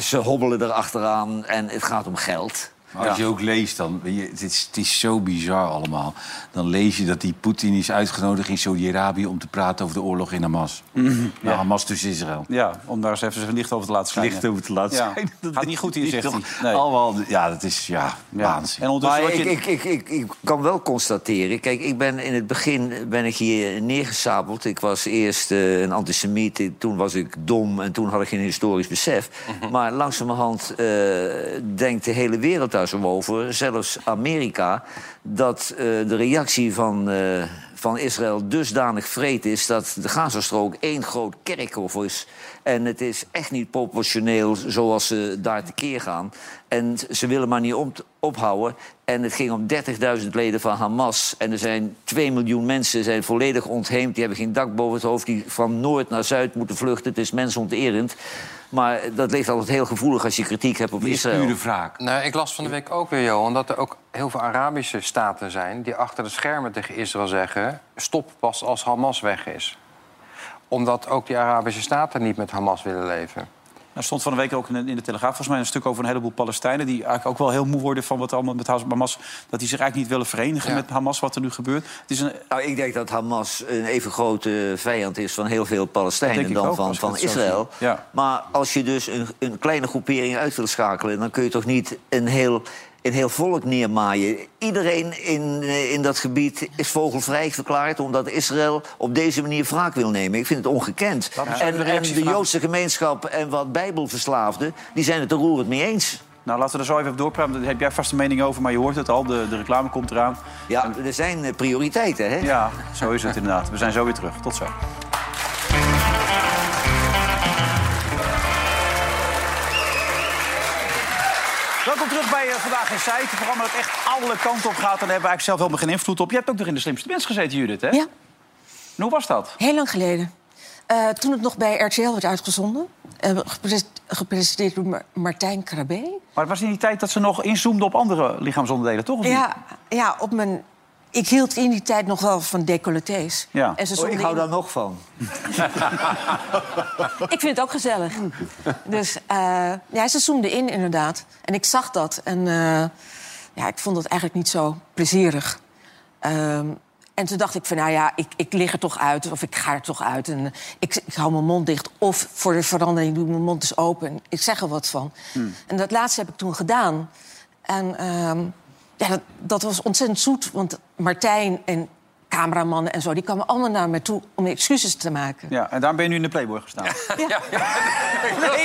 Speaker 3: ze hobbelen erachteraan en het gaat om geld.
Speaker 6: Maar als je ook leest dan, weet je, het is, het is zo bizar allemaal. Dan lees je dat die Poetin is uitgenodigd in Saudi-Arabië om te praten over de oorlog in Hamas. Nou,
Speaker 1: ja.
Speaker 3: dus
Speaker 6: Hamas tussen Israël.
Speaker 1: Ja, om daar eens even zijn licht over te laten schijnen.
Speaker 6: Licht over te laten
Speaker 1: Ja.
Speaker 6: schijnen. Dat
Speaker 1: Gaat niet goed hier,
Speaker 6: is
Speaker 1: zegt
Speaker 6: toch
Speaker 1: hij. Nee.
Speaker 6: Allemaal, ja, dat is ja,
Speaker 1: Ja.
Speaker 6: waanzin.
Speaker 1: En ondertussen
Speaker 3: Maar
Speaker 1: word
Speaker 3: ik,
Speaker 1: je...
Speaker 3: ik, ik, ik, ik kan wel constateren. Kijk, ik ben in het begin ben ik hier neergesabeld. Ik was eerst eh, een antisemiet, eh, toen was ik dom en toen had ik geen historisch besef.
Speaker 1: Mhm.
Speaker 3: Maar langzamerhand eh, denkt de hele wereld daar zo over, zelfs Amerika, dat eh, de reactie van. eh, van Israël dusdanig vreed is dat de Gazastrook één groot kerkhof is. En het is echt niet proportioneel zoals ze daar tekeer gaan. En ze willen maar niet om ophouden. En het ging om 30.000 leden van Hamas. En er zijn 2 miljoen mensen zijn volledig ontheemd. Die hebben geen dak boven het hoofd. Die van noord naar zuid moeten vluchten. Het is mensonterend. Maar dat ligt altijd heel gevoelig als je kritiek hebt op
Speaker 6: Het is
Speaker 3: Israël.
Speaker 6: pure wraak.
Speaker 5: Nou, ik las van de week ook weer, Johan, dat er ook heel veel Arabische staten zijn... die achter de schermen tegen Israël zeggen... stop pas als Hamas weg is. Omdat ook die Arabische staten niet met Hamas willen leven.
Speaker 1: Er Nou, stond van de week ook in de- in de Telegraaf volgens mij een stuk over een heleboel Palestijnen... die eigenlijk ook wel heel moe worden van wat er allemaal met Hamas... dat die zich eigenlijk niet willen verenigen
Speaker 5: Ja.
Speaker 1: met Hamas, wat er nu gebeurt. Het is een,
Speaker 3: Nou, ik denk dat Hamas een even grote vijand is van heel veel
Speaker 1: Dat
Speaker 3: Palestijnen
Speaker 1: denk ik
Speaker 3: dan
Speaker 1: ook,
Speaker 3: van,
Speaker 1: als ik
Speaker 3: van
Speaker 1: het zo
Speaker 3: Israël.
Speaker 1: zie. Ja.
Speaker 3: Maar als je dus een, een kleine groepering uit wil schakelen, dan kun je toch niet een heel, een heel volk neermaaien. Iedereen in, eh, in dat gebied is vogelvrij verklaard omdat Israël op deze manier wraak wil nemen. Ik vind het ongekend.
Speaker 1: eens even
Speaker 3: En,
Speaker 1: de
Speaker 3: en
Speaker 1: reactie
Speaker 3: de
Speaker 1: vragen.
Speaker 3: Joodse gemeenschap en wat Bijbelverslaafden, die zijn het er roerend mee eens.
Speaker 1: nou, laten we er zo even op doorpraten. Daar heb jij vast een mening over, maar je hoort het al. De, de reclame komt eraan.
Speaker 3: Ja, er zijn eh, prioriteiten, hè?
Speaker 1: Ja, zo is het inderdaad. We zijn zo weer terug. Tot zo. Welkom terug bij eh, Vandaag in Zijt. Het programma dat echt alle kanten op gaat. En daar hebben we eigenlijk zelf helemaal geen invloed op. Je hebt ook nog in de slimste mens gezeten, Judith, hè?
Speaker 2: Ja,
Speaker 1: En hoe was dat?
Speaker 2: heel lang geleden. Eh, toen het nog bij RTL werd uitgezonden. eh, gepres- gepresenteerd door Ma- Martijn Krabbe.
Speaker 1: Maar het was in die tijd dat ze nog inzoomden op andere lichaamsonderdelen,
Speaker 3: Oh,
Speaker 1: toch? of niet?
Speaker 2: Ja, ja, op mijn... Ik hield in die tijd nog wel van decolletés.
Speaker 1: Ja.
Speaker 2: En ze
Speaker 3: Oh, ik
Speaker 2: zonden
Speaker 3: hou
Speaker 2: in-
Speaker 3: daar nog van.
Speaker 2: Ik vind het ook gezellig. Dus eh, ja, ze zoomde in inderdaad. En ik zag dat. En eh, ja, ik vond dat eigenlijk niet zo plezierig. Ehm, en toen dacht ik van, nou ja, ik, ik lig er toch uit. Of ik ga er toch uit. En eh, ik, ik hou mijn mond dicht. Of voor de verandering doe ik mijn mond eens open. en Ik zeg er wat van.
Speaker 1: Hm.
Speaker 2: En dat laatste heb ik toen gedaan. En ehm, ja, dat, dat was ontzettend zoet. Want Martijn en cameramannen en zo... die kwamen allemaal naar me toe om excuses te maken.
Speaker 1: Ja, en daarom ben je nu in de Playboy gestaan. Nee,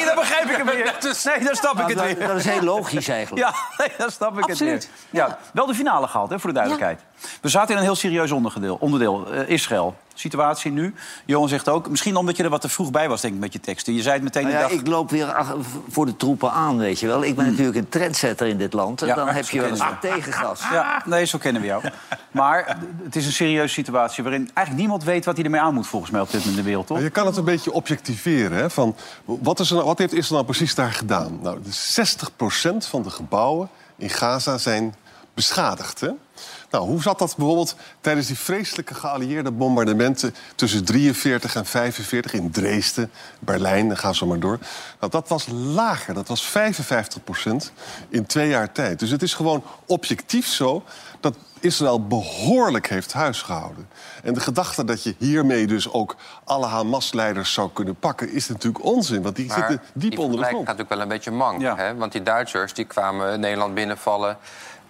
Speaker 1: dat begrijp ik hem weer. Nee, daar snap ik het
Speaker 3: Dat,
Speaker 1: weer.
Speaker 3: dat is heel logisch eigenlijk.
Speaker 1: Ja, nee, dat snap ik
Speaker 2: Absoluut.
Speaker 1: het weer. Ja, wel de finale gehaald, hè, voor de duidelijkheid. We zaten in een heel serieus onderdeel, onderdeel eh, Israël. Situatie nu. Johan zegt ook, misschien omdat je er wat te vroeg bij was, denk ik, met je teksten. Je zei het meteen
Speaker 3: Nou
Speaker 1: de
Speaker 3: ja,
Speaker 1: dag... Mm.
Speaker 3: ik loop weer ach- voor de troepen aan, weet je wel. Ik ben natuurlijk een trendsetter in dit land. En
Speaker 1: Ja,
Speaker 3: dan heb
Speaker 1: zo
Speaker 3: je wel eens
Speaker 1: kennen
Speaker 3: wat tegengas.
Speaker 1: Ja, nee, zo kennen we jou. Maar het is een serieuze situatie waarin eigenlijk niemand weet wat hij ermee aan moet, volgens mij, op dit moment in de wereld, toch?
Speaker 4: Maar Je kan het een beetje objectiveren. Hè? Van, wat, is er nou, wat heeft Israël nou precies daar gedaan? Nou, de 60% van de gebouwen in Gaza zijn beschadigd. Hè? Nou, hoe zat dat bijvoorbeeld tijdens die vreselijke geallieerde bombardementen... tussen 43 en 45 in Dresden, Berlijn, dan gaan ze maar door. Nou, dat was lager, dat was 55% in twee jaar tijd. Dus het is gewoon objectief zo dat Israël behoorlijk heeft huisgehouden. En de gedachte dat je hiermee dus ook alle Hamas-leiders zou kunnen pakken... is natuurlijk onzin, want die zitten diep
Speaker 5: die
Speaker 4: onder de
Speaker 5: vergelijking
Speaker 4: grond.
Speaker 5: gaat natuurlijk wel een beetje mank.
Speaker 1: Ja.
Speaker 5: Hè? Want die Duitsers die kwamen Nederland binnenvallen...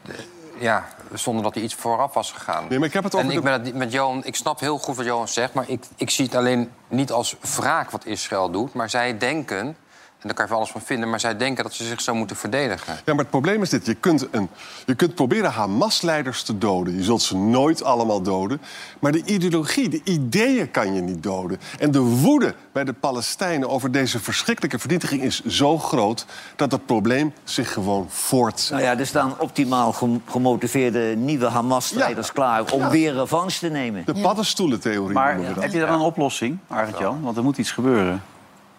Speaker 5: de- Ja, zonder dat er iets vooraf was gegaan.
Speaker 4: Nee, maar ik heb het over
Speaker 5: en ik,
Speaker 4: de-
Speaker 5: ben het niet- met Johan, ik snap heel goed wat Johan zegt... maar ik, ik zie het alleen niet als wraak wat Israël doet... maar zij denken En daar kan je van alles van vinden, maar zij denken dat ze zich zo moeten verdedigen.
Speaker 4: Ja, maar het probleem is dit. Je kunt, een, je kunt proberen Hamas-leiders te doden. Je zult ze nooit allemaal doden. Maar de ideologie, de ideeën kan je niet doden. En de woede bij de Palestijnen over deze verschrikkelijke vernietiging... is zo groot dat het probleem zich gewoon voortzet.
Speaker 3: Nou ja, er staan optimaal gem- gemotiveerde nieuwe Hamas-strijders klaar om
Speaker 4: Ja.
Speaker 3: weer revanche te nemen.
Speaker 4: De paddenstoelentheorie
Speaker 1: Maar
Speaker 4: noemen we dat.
Speaker 1: heb je daar een oplossing, Arend Jan? Want er moet iets gebeuren.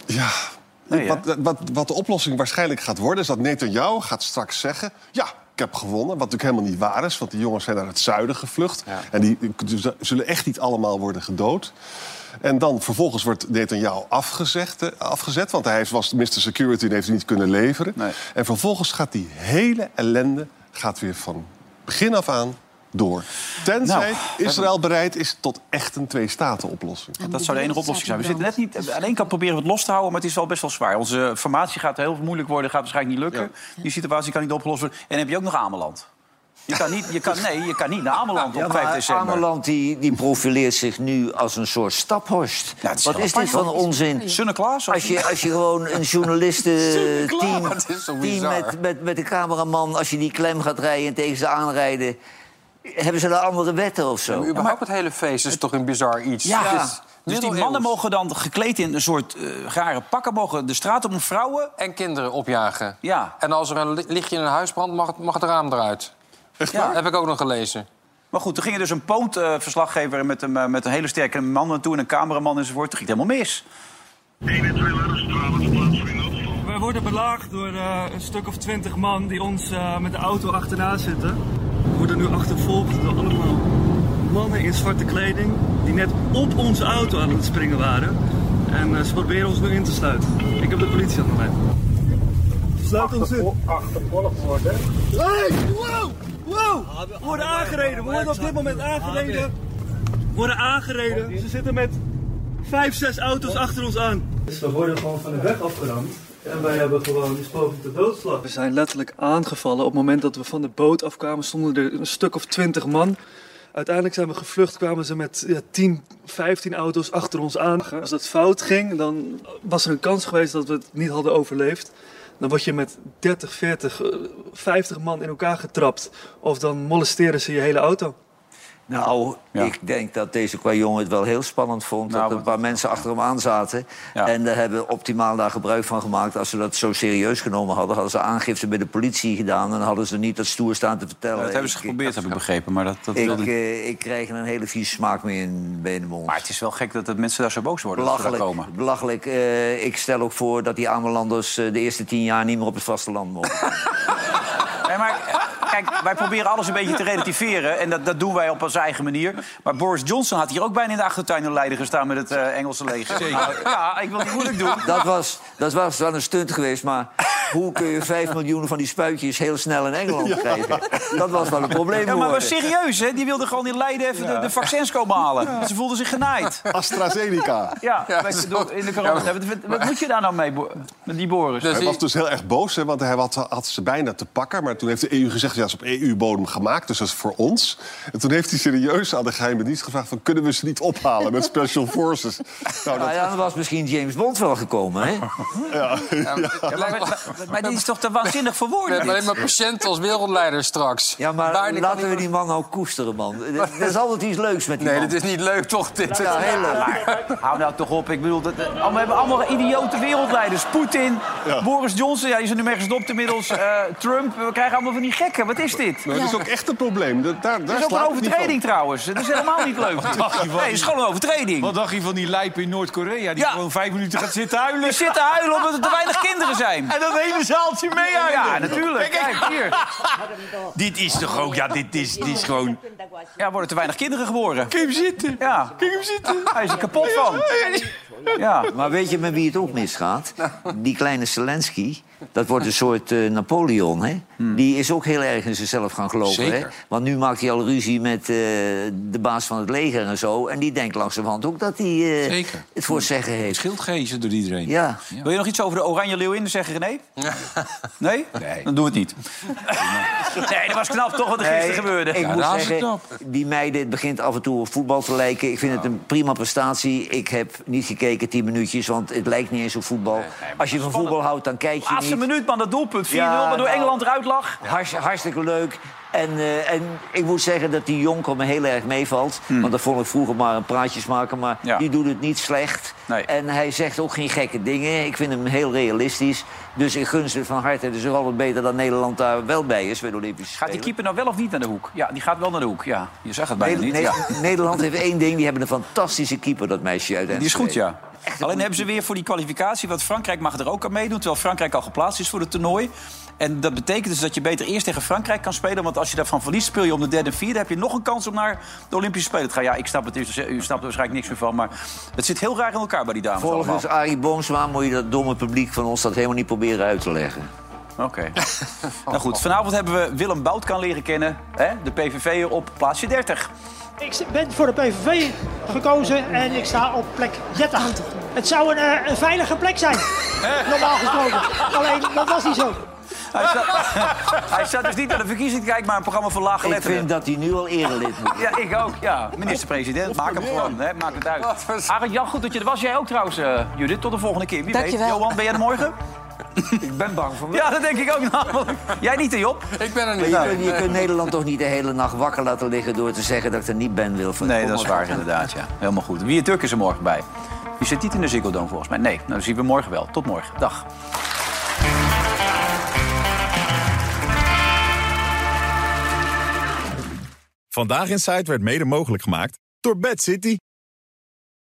Speaker 4: Ja.
Speaker 1: Nee, hè?
Speaker 4: wat, wat, wat de oplossing waarschijnlijk gaat worden... is dat Netanyahu gaat straks zeggen... ja, ik heb gewonnen, wat natuurlijk helemaal niet waar is... want die jongens zijn naar het zuiden gevlucht. En die die zullen echt niet allemaal worden gedood. En dan vervolgens wordt Netanyahu afgezegd, eh, afgezet... want hij was Mr. Security en heeft hij niet kunnen leveren. En vervolgens gaat die hele ellende gaat weer van begin af aan door. Tenzij
Speaker 1: Nou,
Speaker 4: Israël bereid is tot echt een twee-staten-oplossing.
Speaker 1: Dat zou de enige oplossing zijn. We zitten net niet. Aan één kant proberen we het los te houden, maar het is wel best wel zwaar. Onze formatie gaat heel moeilijk worden, gaat waarschijnlijk niet lukken. Die situatie kan niet opgelost worden. En dan heb je ook nog Ameland. Je kan niet, je kan, nee, je kan niet naar Ameland
Speaker 3: Ja,
Speaker 1: op 5
Speaker 3: maar
Speaker 1: december.
Speaker 3: Ameland die, die profileert zich nu als een soort staphorst.
Speaker 1: Ja, het is
Speaker 3: Wat
Speaker 1: wel
Speaker 3: is dit
Speaker 1: apart.
Speaker 3: van onzin?
Speaker 1: Sinterklaas? of
Speaker 3: Als
Speaker 1: niet?
Speaker 3: je, als je gewoon een journalistenteam
Speaker 5: dat is zo
Speaker 3: team
Speaker 5: bizar.
Speaker 3: met, met, met een cameraman... als je die klem gaat rijden en tegen ze aanrijden... hebben ze daar andere wetten of zo?
Speaker 5: Maar überhaupt het hele feest is toch een bizar iets.
Speaker 1: Ja,
Speaker 5: Het is
Speaker 1: dus die
Speaker 5: middeleeuws.
Speaker 1: mannen mogen dan gekleed in een soort eh, rare pakken... mogen de straat op om vrouwen...
Speaker 5: En kinderen opjagen.
Speaker 1: Ja,
Speaker 5: En als er een li- lichtje in een huis brandt, mag, het- mag het raam eruit. Echt
Speaker 1: waar?
Speaker 5: Heb ik ook nog gelezen.
Speaker 1: maar goed, er ging er dus een poont-verslaggever... met, een, eh, met een hele sterke man naartoe en een cameraman enzovoort. Het ging helemaal mis.
Speaker 12: We worden belaagd door eh, een stuk of twintig man die ons eh, met de auto achterna zitten. We worden nu achtervolgd door allemaal mannen in zwarte kleding die net op onze auto aan het springen waren. En eh, ze proberen ons nu in te sluiten. Ik heb de politie aan de lijn. Sluit ons in. Achtervolgd worden. Hey! Wow! Wow! We worden aangereden. We worden op dit moment aangereden. We worden aangereden. Ze zitten met vijf, zes auto's achter ons aan. Dus we worden gewoon van de weg afgeramd. En wij hebben gewoon eens poging tot doodslag. We zijn letterlijk aangevallen. Op het moment dat we van de boot afkwamen, stonden er een stuk of twintig man. Uiteindelijk zijn we gevlucht, kwamen ze met ja, 10, 15 auto's achter ons aan. Als dat fout ging, dan was er een kans geweest dat we het niet hadden overleefd. Dan word je met 30, 40, eh, 50 man in elkaar getrapt. Of dan molesteren ze je hele auto.
Speaker 3: Nou, ik denk dat deze qua jongen het wel heel spannend vond...
Speaker 1: Nou,
Speaker 3: dat er een paar mensen achter hem aan zaten. En daar hebben optimaal daar gebruik van gemaakt. Als ze dat zo serieus genomen hadden... hadden ze aangifte bij de politie gedaan... en hadden ze niet dat stoer staan te vertellen.
Speaker 1: dat hebben ze
Speaker 3: Ik-
Speaker 1: geprobeerd, heb ik begrepen. Maar dat, dat
Speaker 3: Ik,
Speaker 1: wilde-
Speaker 3: eh, ik krijg er een hele vieze smaak mee in, bij de mond.
Speaker 1: Maar het is wel gek dat de mensen daar zo boos worden. als ze daar
Speaker 3: belachelijk.
Speaker 1: komen.
Speaker 3: belachelijk. Eh, ik stel ook voor dat die Amelanders eh, de eerste tien jaar niet meer op het vasteland mogen.
Speaker 1: Nee, maar, eh, kijk, wij proberen alles een beetje te relativeren. En dat, dat doen wij op onze eigen manier. Maar Boris Johnson had hier ook bijna in de achtertuin in Leiden gestaan met het eh, Engelse leger. Nou, ja, ik wil het niet moeilijk doen.
Speaker 3: dat, was, dat was wel een stunt geweest, maar hoe kun je vijf miljoen van die spuitjes heel snel in Engeland krijgen? Dat was wel een probleem.
Speaker 1: Ja, maar was
Speaker 3: geworden.
Speaker 1: serieus, hè? Die wilden gewoon in Leiden even de, de vaccins komen halen. Ze voelden zich genaaid.
Speaker 4: AstraZeneca.
Speaker 1: Ja, weet je, door- in de corona. Wat, wat- wat moet je daar nou mee, Bo- met die Boris?
Speaker 4: hij was dus heel erg boos, hè, want hij had, had ze bijna te pakken. Maar toen heeft de EU gezegd, ja, dat is op EU-bodem gemaakt, dus dat is voor ons. En toen heeft hij serieus aan de geheime dienst gevraagd... Van, kunnen we ze niet ophalen met special forces? Nou, dat,
Speaker 3: Nou ja, dan was misschien James Bond wel gekomen, hè?
Speaker 1: Ja, maar, maar- maar dit is toch te waanzinnig voor
Speaker 5: We
Speaker 1: woorden,
Speaker 5: hebben alleen
Speaker 1: dit?
Speaker 5: maar patiënten als wereldleider straks.
Speaker 3: Ja, maar
Speaker 5: Daar niet-
Speaker 3: laten we die man nou koesteren, man. Er is altijd iets leuks met die
Speaker 5: Nee,
Speaker 3: man.
Speaker 5: dit is niet leuk toch? Dit
Speaker 3: Ja, heel leuk.
Speaker 1: Hou nou toch op. Ik bedoel, dat, eh, allemaal- we hebben allemaal idiote wereldleiders. Poetin, Boris Johnson, ja, die is er nu mee gestopt inmiddels. eh, Trump, we krijgen allemaal van die gekken. Wat is dit?
Speaker 4: maar dat is ook echt een probleem. Dat, daar,
Speaker 1: Dat
Speaker 4: daar
Speaker 1: is ook een
Speaker 4: slaat het niet
Speaker 1: overtreding trouwens. Dat is helemaal niet leuk.
Speaker 10: dacht je van
Speaker 1: Nee, het is
Speaker 10: die-
Speaker 1: gewoon een overtreding.
Speaker 10: Wat dacht je van die lijp in Noord-Korea die
Speaker 1: Ja.
Speaker 10: gewoon vijf minuten gaat zitten huilen?
Speaker 1: We zitten huilen omdat er te weinig kinderen zijn.
Speaker 10: En dat hele zaaltje mee
Speaker 1: Ja, natuurlijk. Kijk, hier.
Speaker 10: Dit is toch ook, ja, dit is, dit is gewoon...
Speaker 1: Ja, worden te weinig kinderen geboren.
Speaker 10: Kun je hem zitten?
Speaker 1: Ja,
Speaker 10: Kun je hem zitten?
Speaker 1: hij is er kapot van. Ja.
Speaker 3: Maar weet je met wie het ook misgaat? Die kleine Zelensky, dat wordt een soort eh, Napoleon, hè? Die is ook heel erg eigen zichzelf gaan geloven.
Speaker 6: Zeker.
Speaker 3: Hè? Want nu maakt hij al ruzie met eh, de baas van het leger en zo. En die denkt langzamerhand ook dat hij eh het voor het zeggen heeft.
Speaker 1: Schildgezen door iedereen.
Speaker 3: Ja.
Speaker 1: Wil je nog iets over de Oranje Leeuwin zeggen, René? Nee? Nee. Dan doen we het niet. nee, dat was knap toch wat er gisteren gebeurde.
Speaker 3: Ik moet zeggen, die meiden, het begint af en toe op voetbal te lijken. Ik vind het een prima prestatie. Ik heb niet gekeken tien minuutjes, want het lijkt niet eens op voetbal. Als je van voetbal houdt, dan kijk je
Speaker 1: Laatste
Speaker 3: niet.
Speaker 1: minuut, man, dat doelpunt. 4-0,
Speaker 3: Ja,
Speaker 1: waardoor
Speaker 3: nou.
Speaker 1: Engeland eruit lag.
Speaker 3: Hartst- hartstikke leuk. En, eh, en ik moet zeggen dat die Jonker me heel erg meevalt. Want dat vond ik vroeger maar een praatjesmaker. Maar
Speaker 1: Hmm. Ja.
Speaker 3: die doet het niet slecht. En hij zegt ook geen gekke dingen. Ik vind hem heel realistisch. Dus ik gun ze het van harte. Het is ook altijd beter dat Nederland daar wel bij is bij de Olympische
Speaker 1: Gaat die keeper nou wel of niet naar de hoek? Ja, die gaat wel naar de hoek. Ja, je zag het bijna
Speaker 3: Neder-
Speaker 1: niet.
Speaker 3: Ne-
Speaker 1: Ja.
Speaker 3: Nederland heeft één ding. Die hebben een fantastische keeper, dat meisje uit
Speaker 1: Die is goed,
Speaker 3: Enschede.
Speaker 1: ja. Alleen hebben ze weer voor die kwalificatie, want Frankrijk mag er ook aan meedoen, terwijl Frankrijk al geplaatst is voor het toernooi. En dat betekent dus dat je beter eerst tegen Frankrijk kan spelen. Want als je daarvan verliest, speel je om de derde en vierde. heb je nog een kans om naar de Olympische Spelen te gaan. Ja, ik snap het. dus, eh, U snapt er waarschijnlijk niks meer van. Maar het zit heel raar in elkaar bij die dames
Speaker 3: Volgens
Speaker 1: allemaal.
Speaker 3: Arie Boomsma moet je dat domme publiek van ons dat helemaal niet proberen uit te leggen.
Speaker 1: Oké. Nou goed, vanavond hebben we Willem Bout kan leren kennen. Hè? De PVV op plaatsje 30.
Speaker 7: Ik ben voor de PVV gekozen en ik sta op plek 30. Het zou een, eh, een veilige plek zijn, normaal gesproken. Alleen, dat was niet zo.
Speaker 1: Hij staat, hij staat dus niet naar de verkiezing te kijken, maar een programma voor lage
Speaker 3: Ik vind dat hij nu al erelid moet.
Speaker 1: Ja, ik ook, ja. Minister-president, maak hem gewoon, hè, maak het uit. Arend Jan, goed dat je er was. Jij ook trouwens, eh, Judith. Tot de volgende keer. Wie
Speaker 2: Dankjewel.
Speaker 1: weet. Johan, ben jij er morgen?
Speaker 3: Ik ben bang voor
Speaker 1: Ja, dat denk ik ook Nou, namelijk. Jij niet, hè, Job?
Speaker 5: Ik ben er
Speaker 3: Maar je, kunt, je kunt Nederland toch niet de hele nacht wakker laten liggen door te zeggen dat ik er niet ben, Wilfred.
Speaker 1: Nee,
Speaker 3: Kom
Speaker 1: dat is
Speaker 3: maar.
Speaker 1: waar, inderdaad, ja. Helemaal goed. Wie het Turk is er morgen bij? Wie zit niet in de Ziggo Dome, volgens mij? Nee, nou, dat zien we morgen wel. Tot morgen. Dag.
Speaker 13: Vandaag in Site werd mede mogelijk gemaakt door Bad City.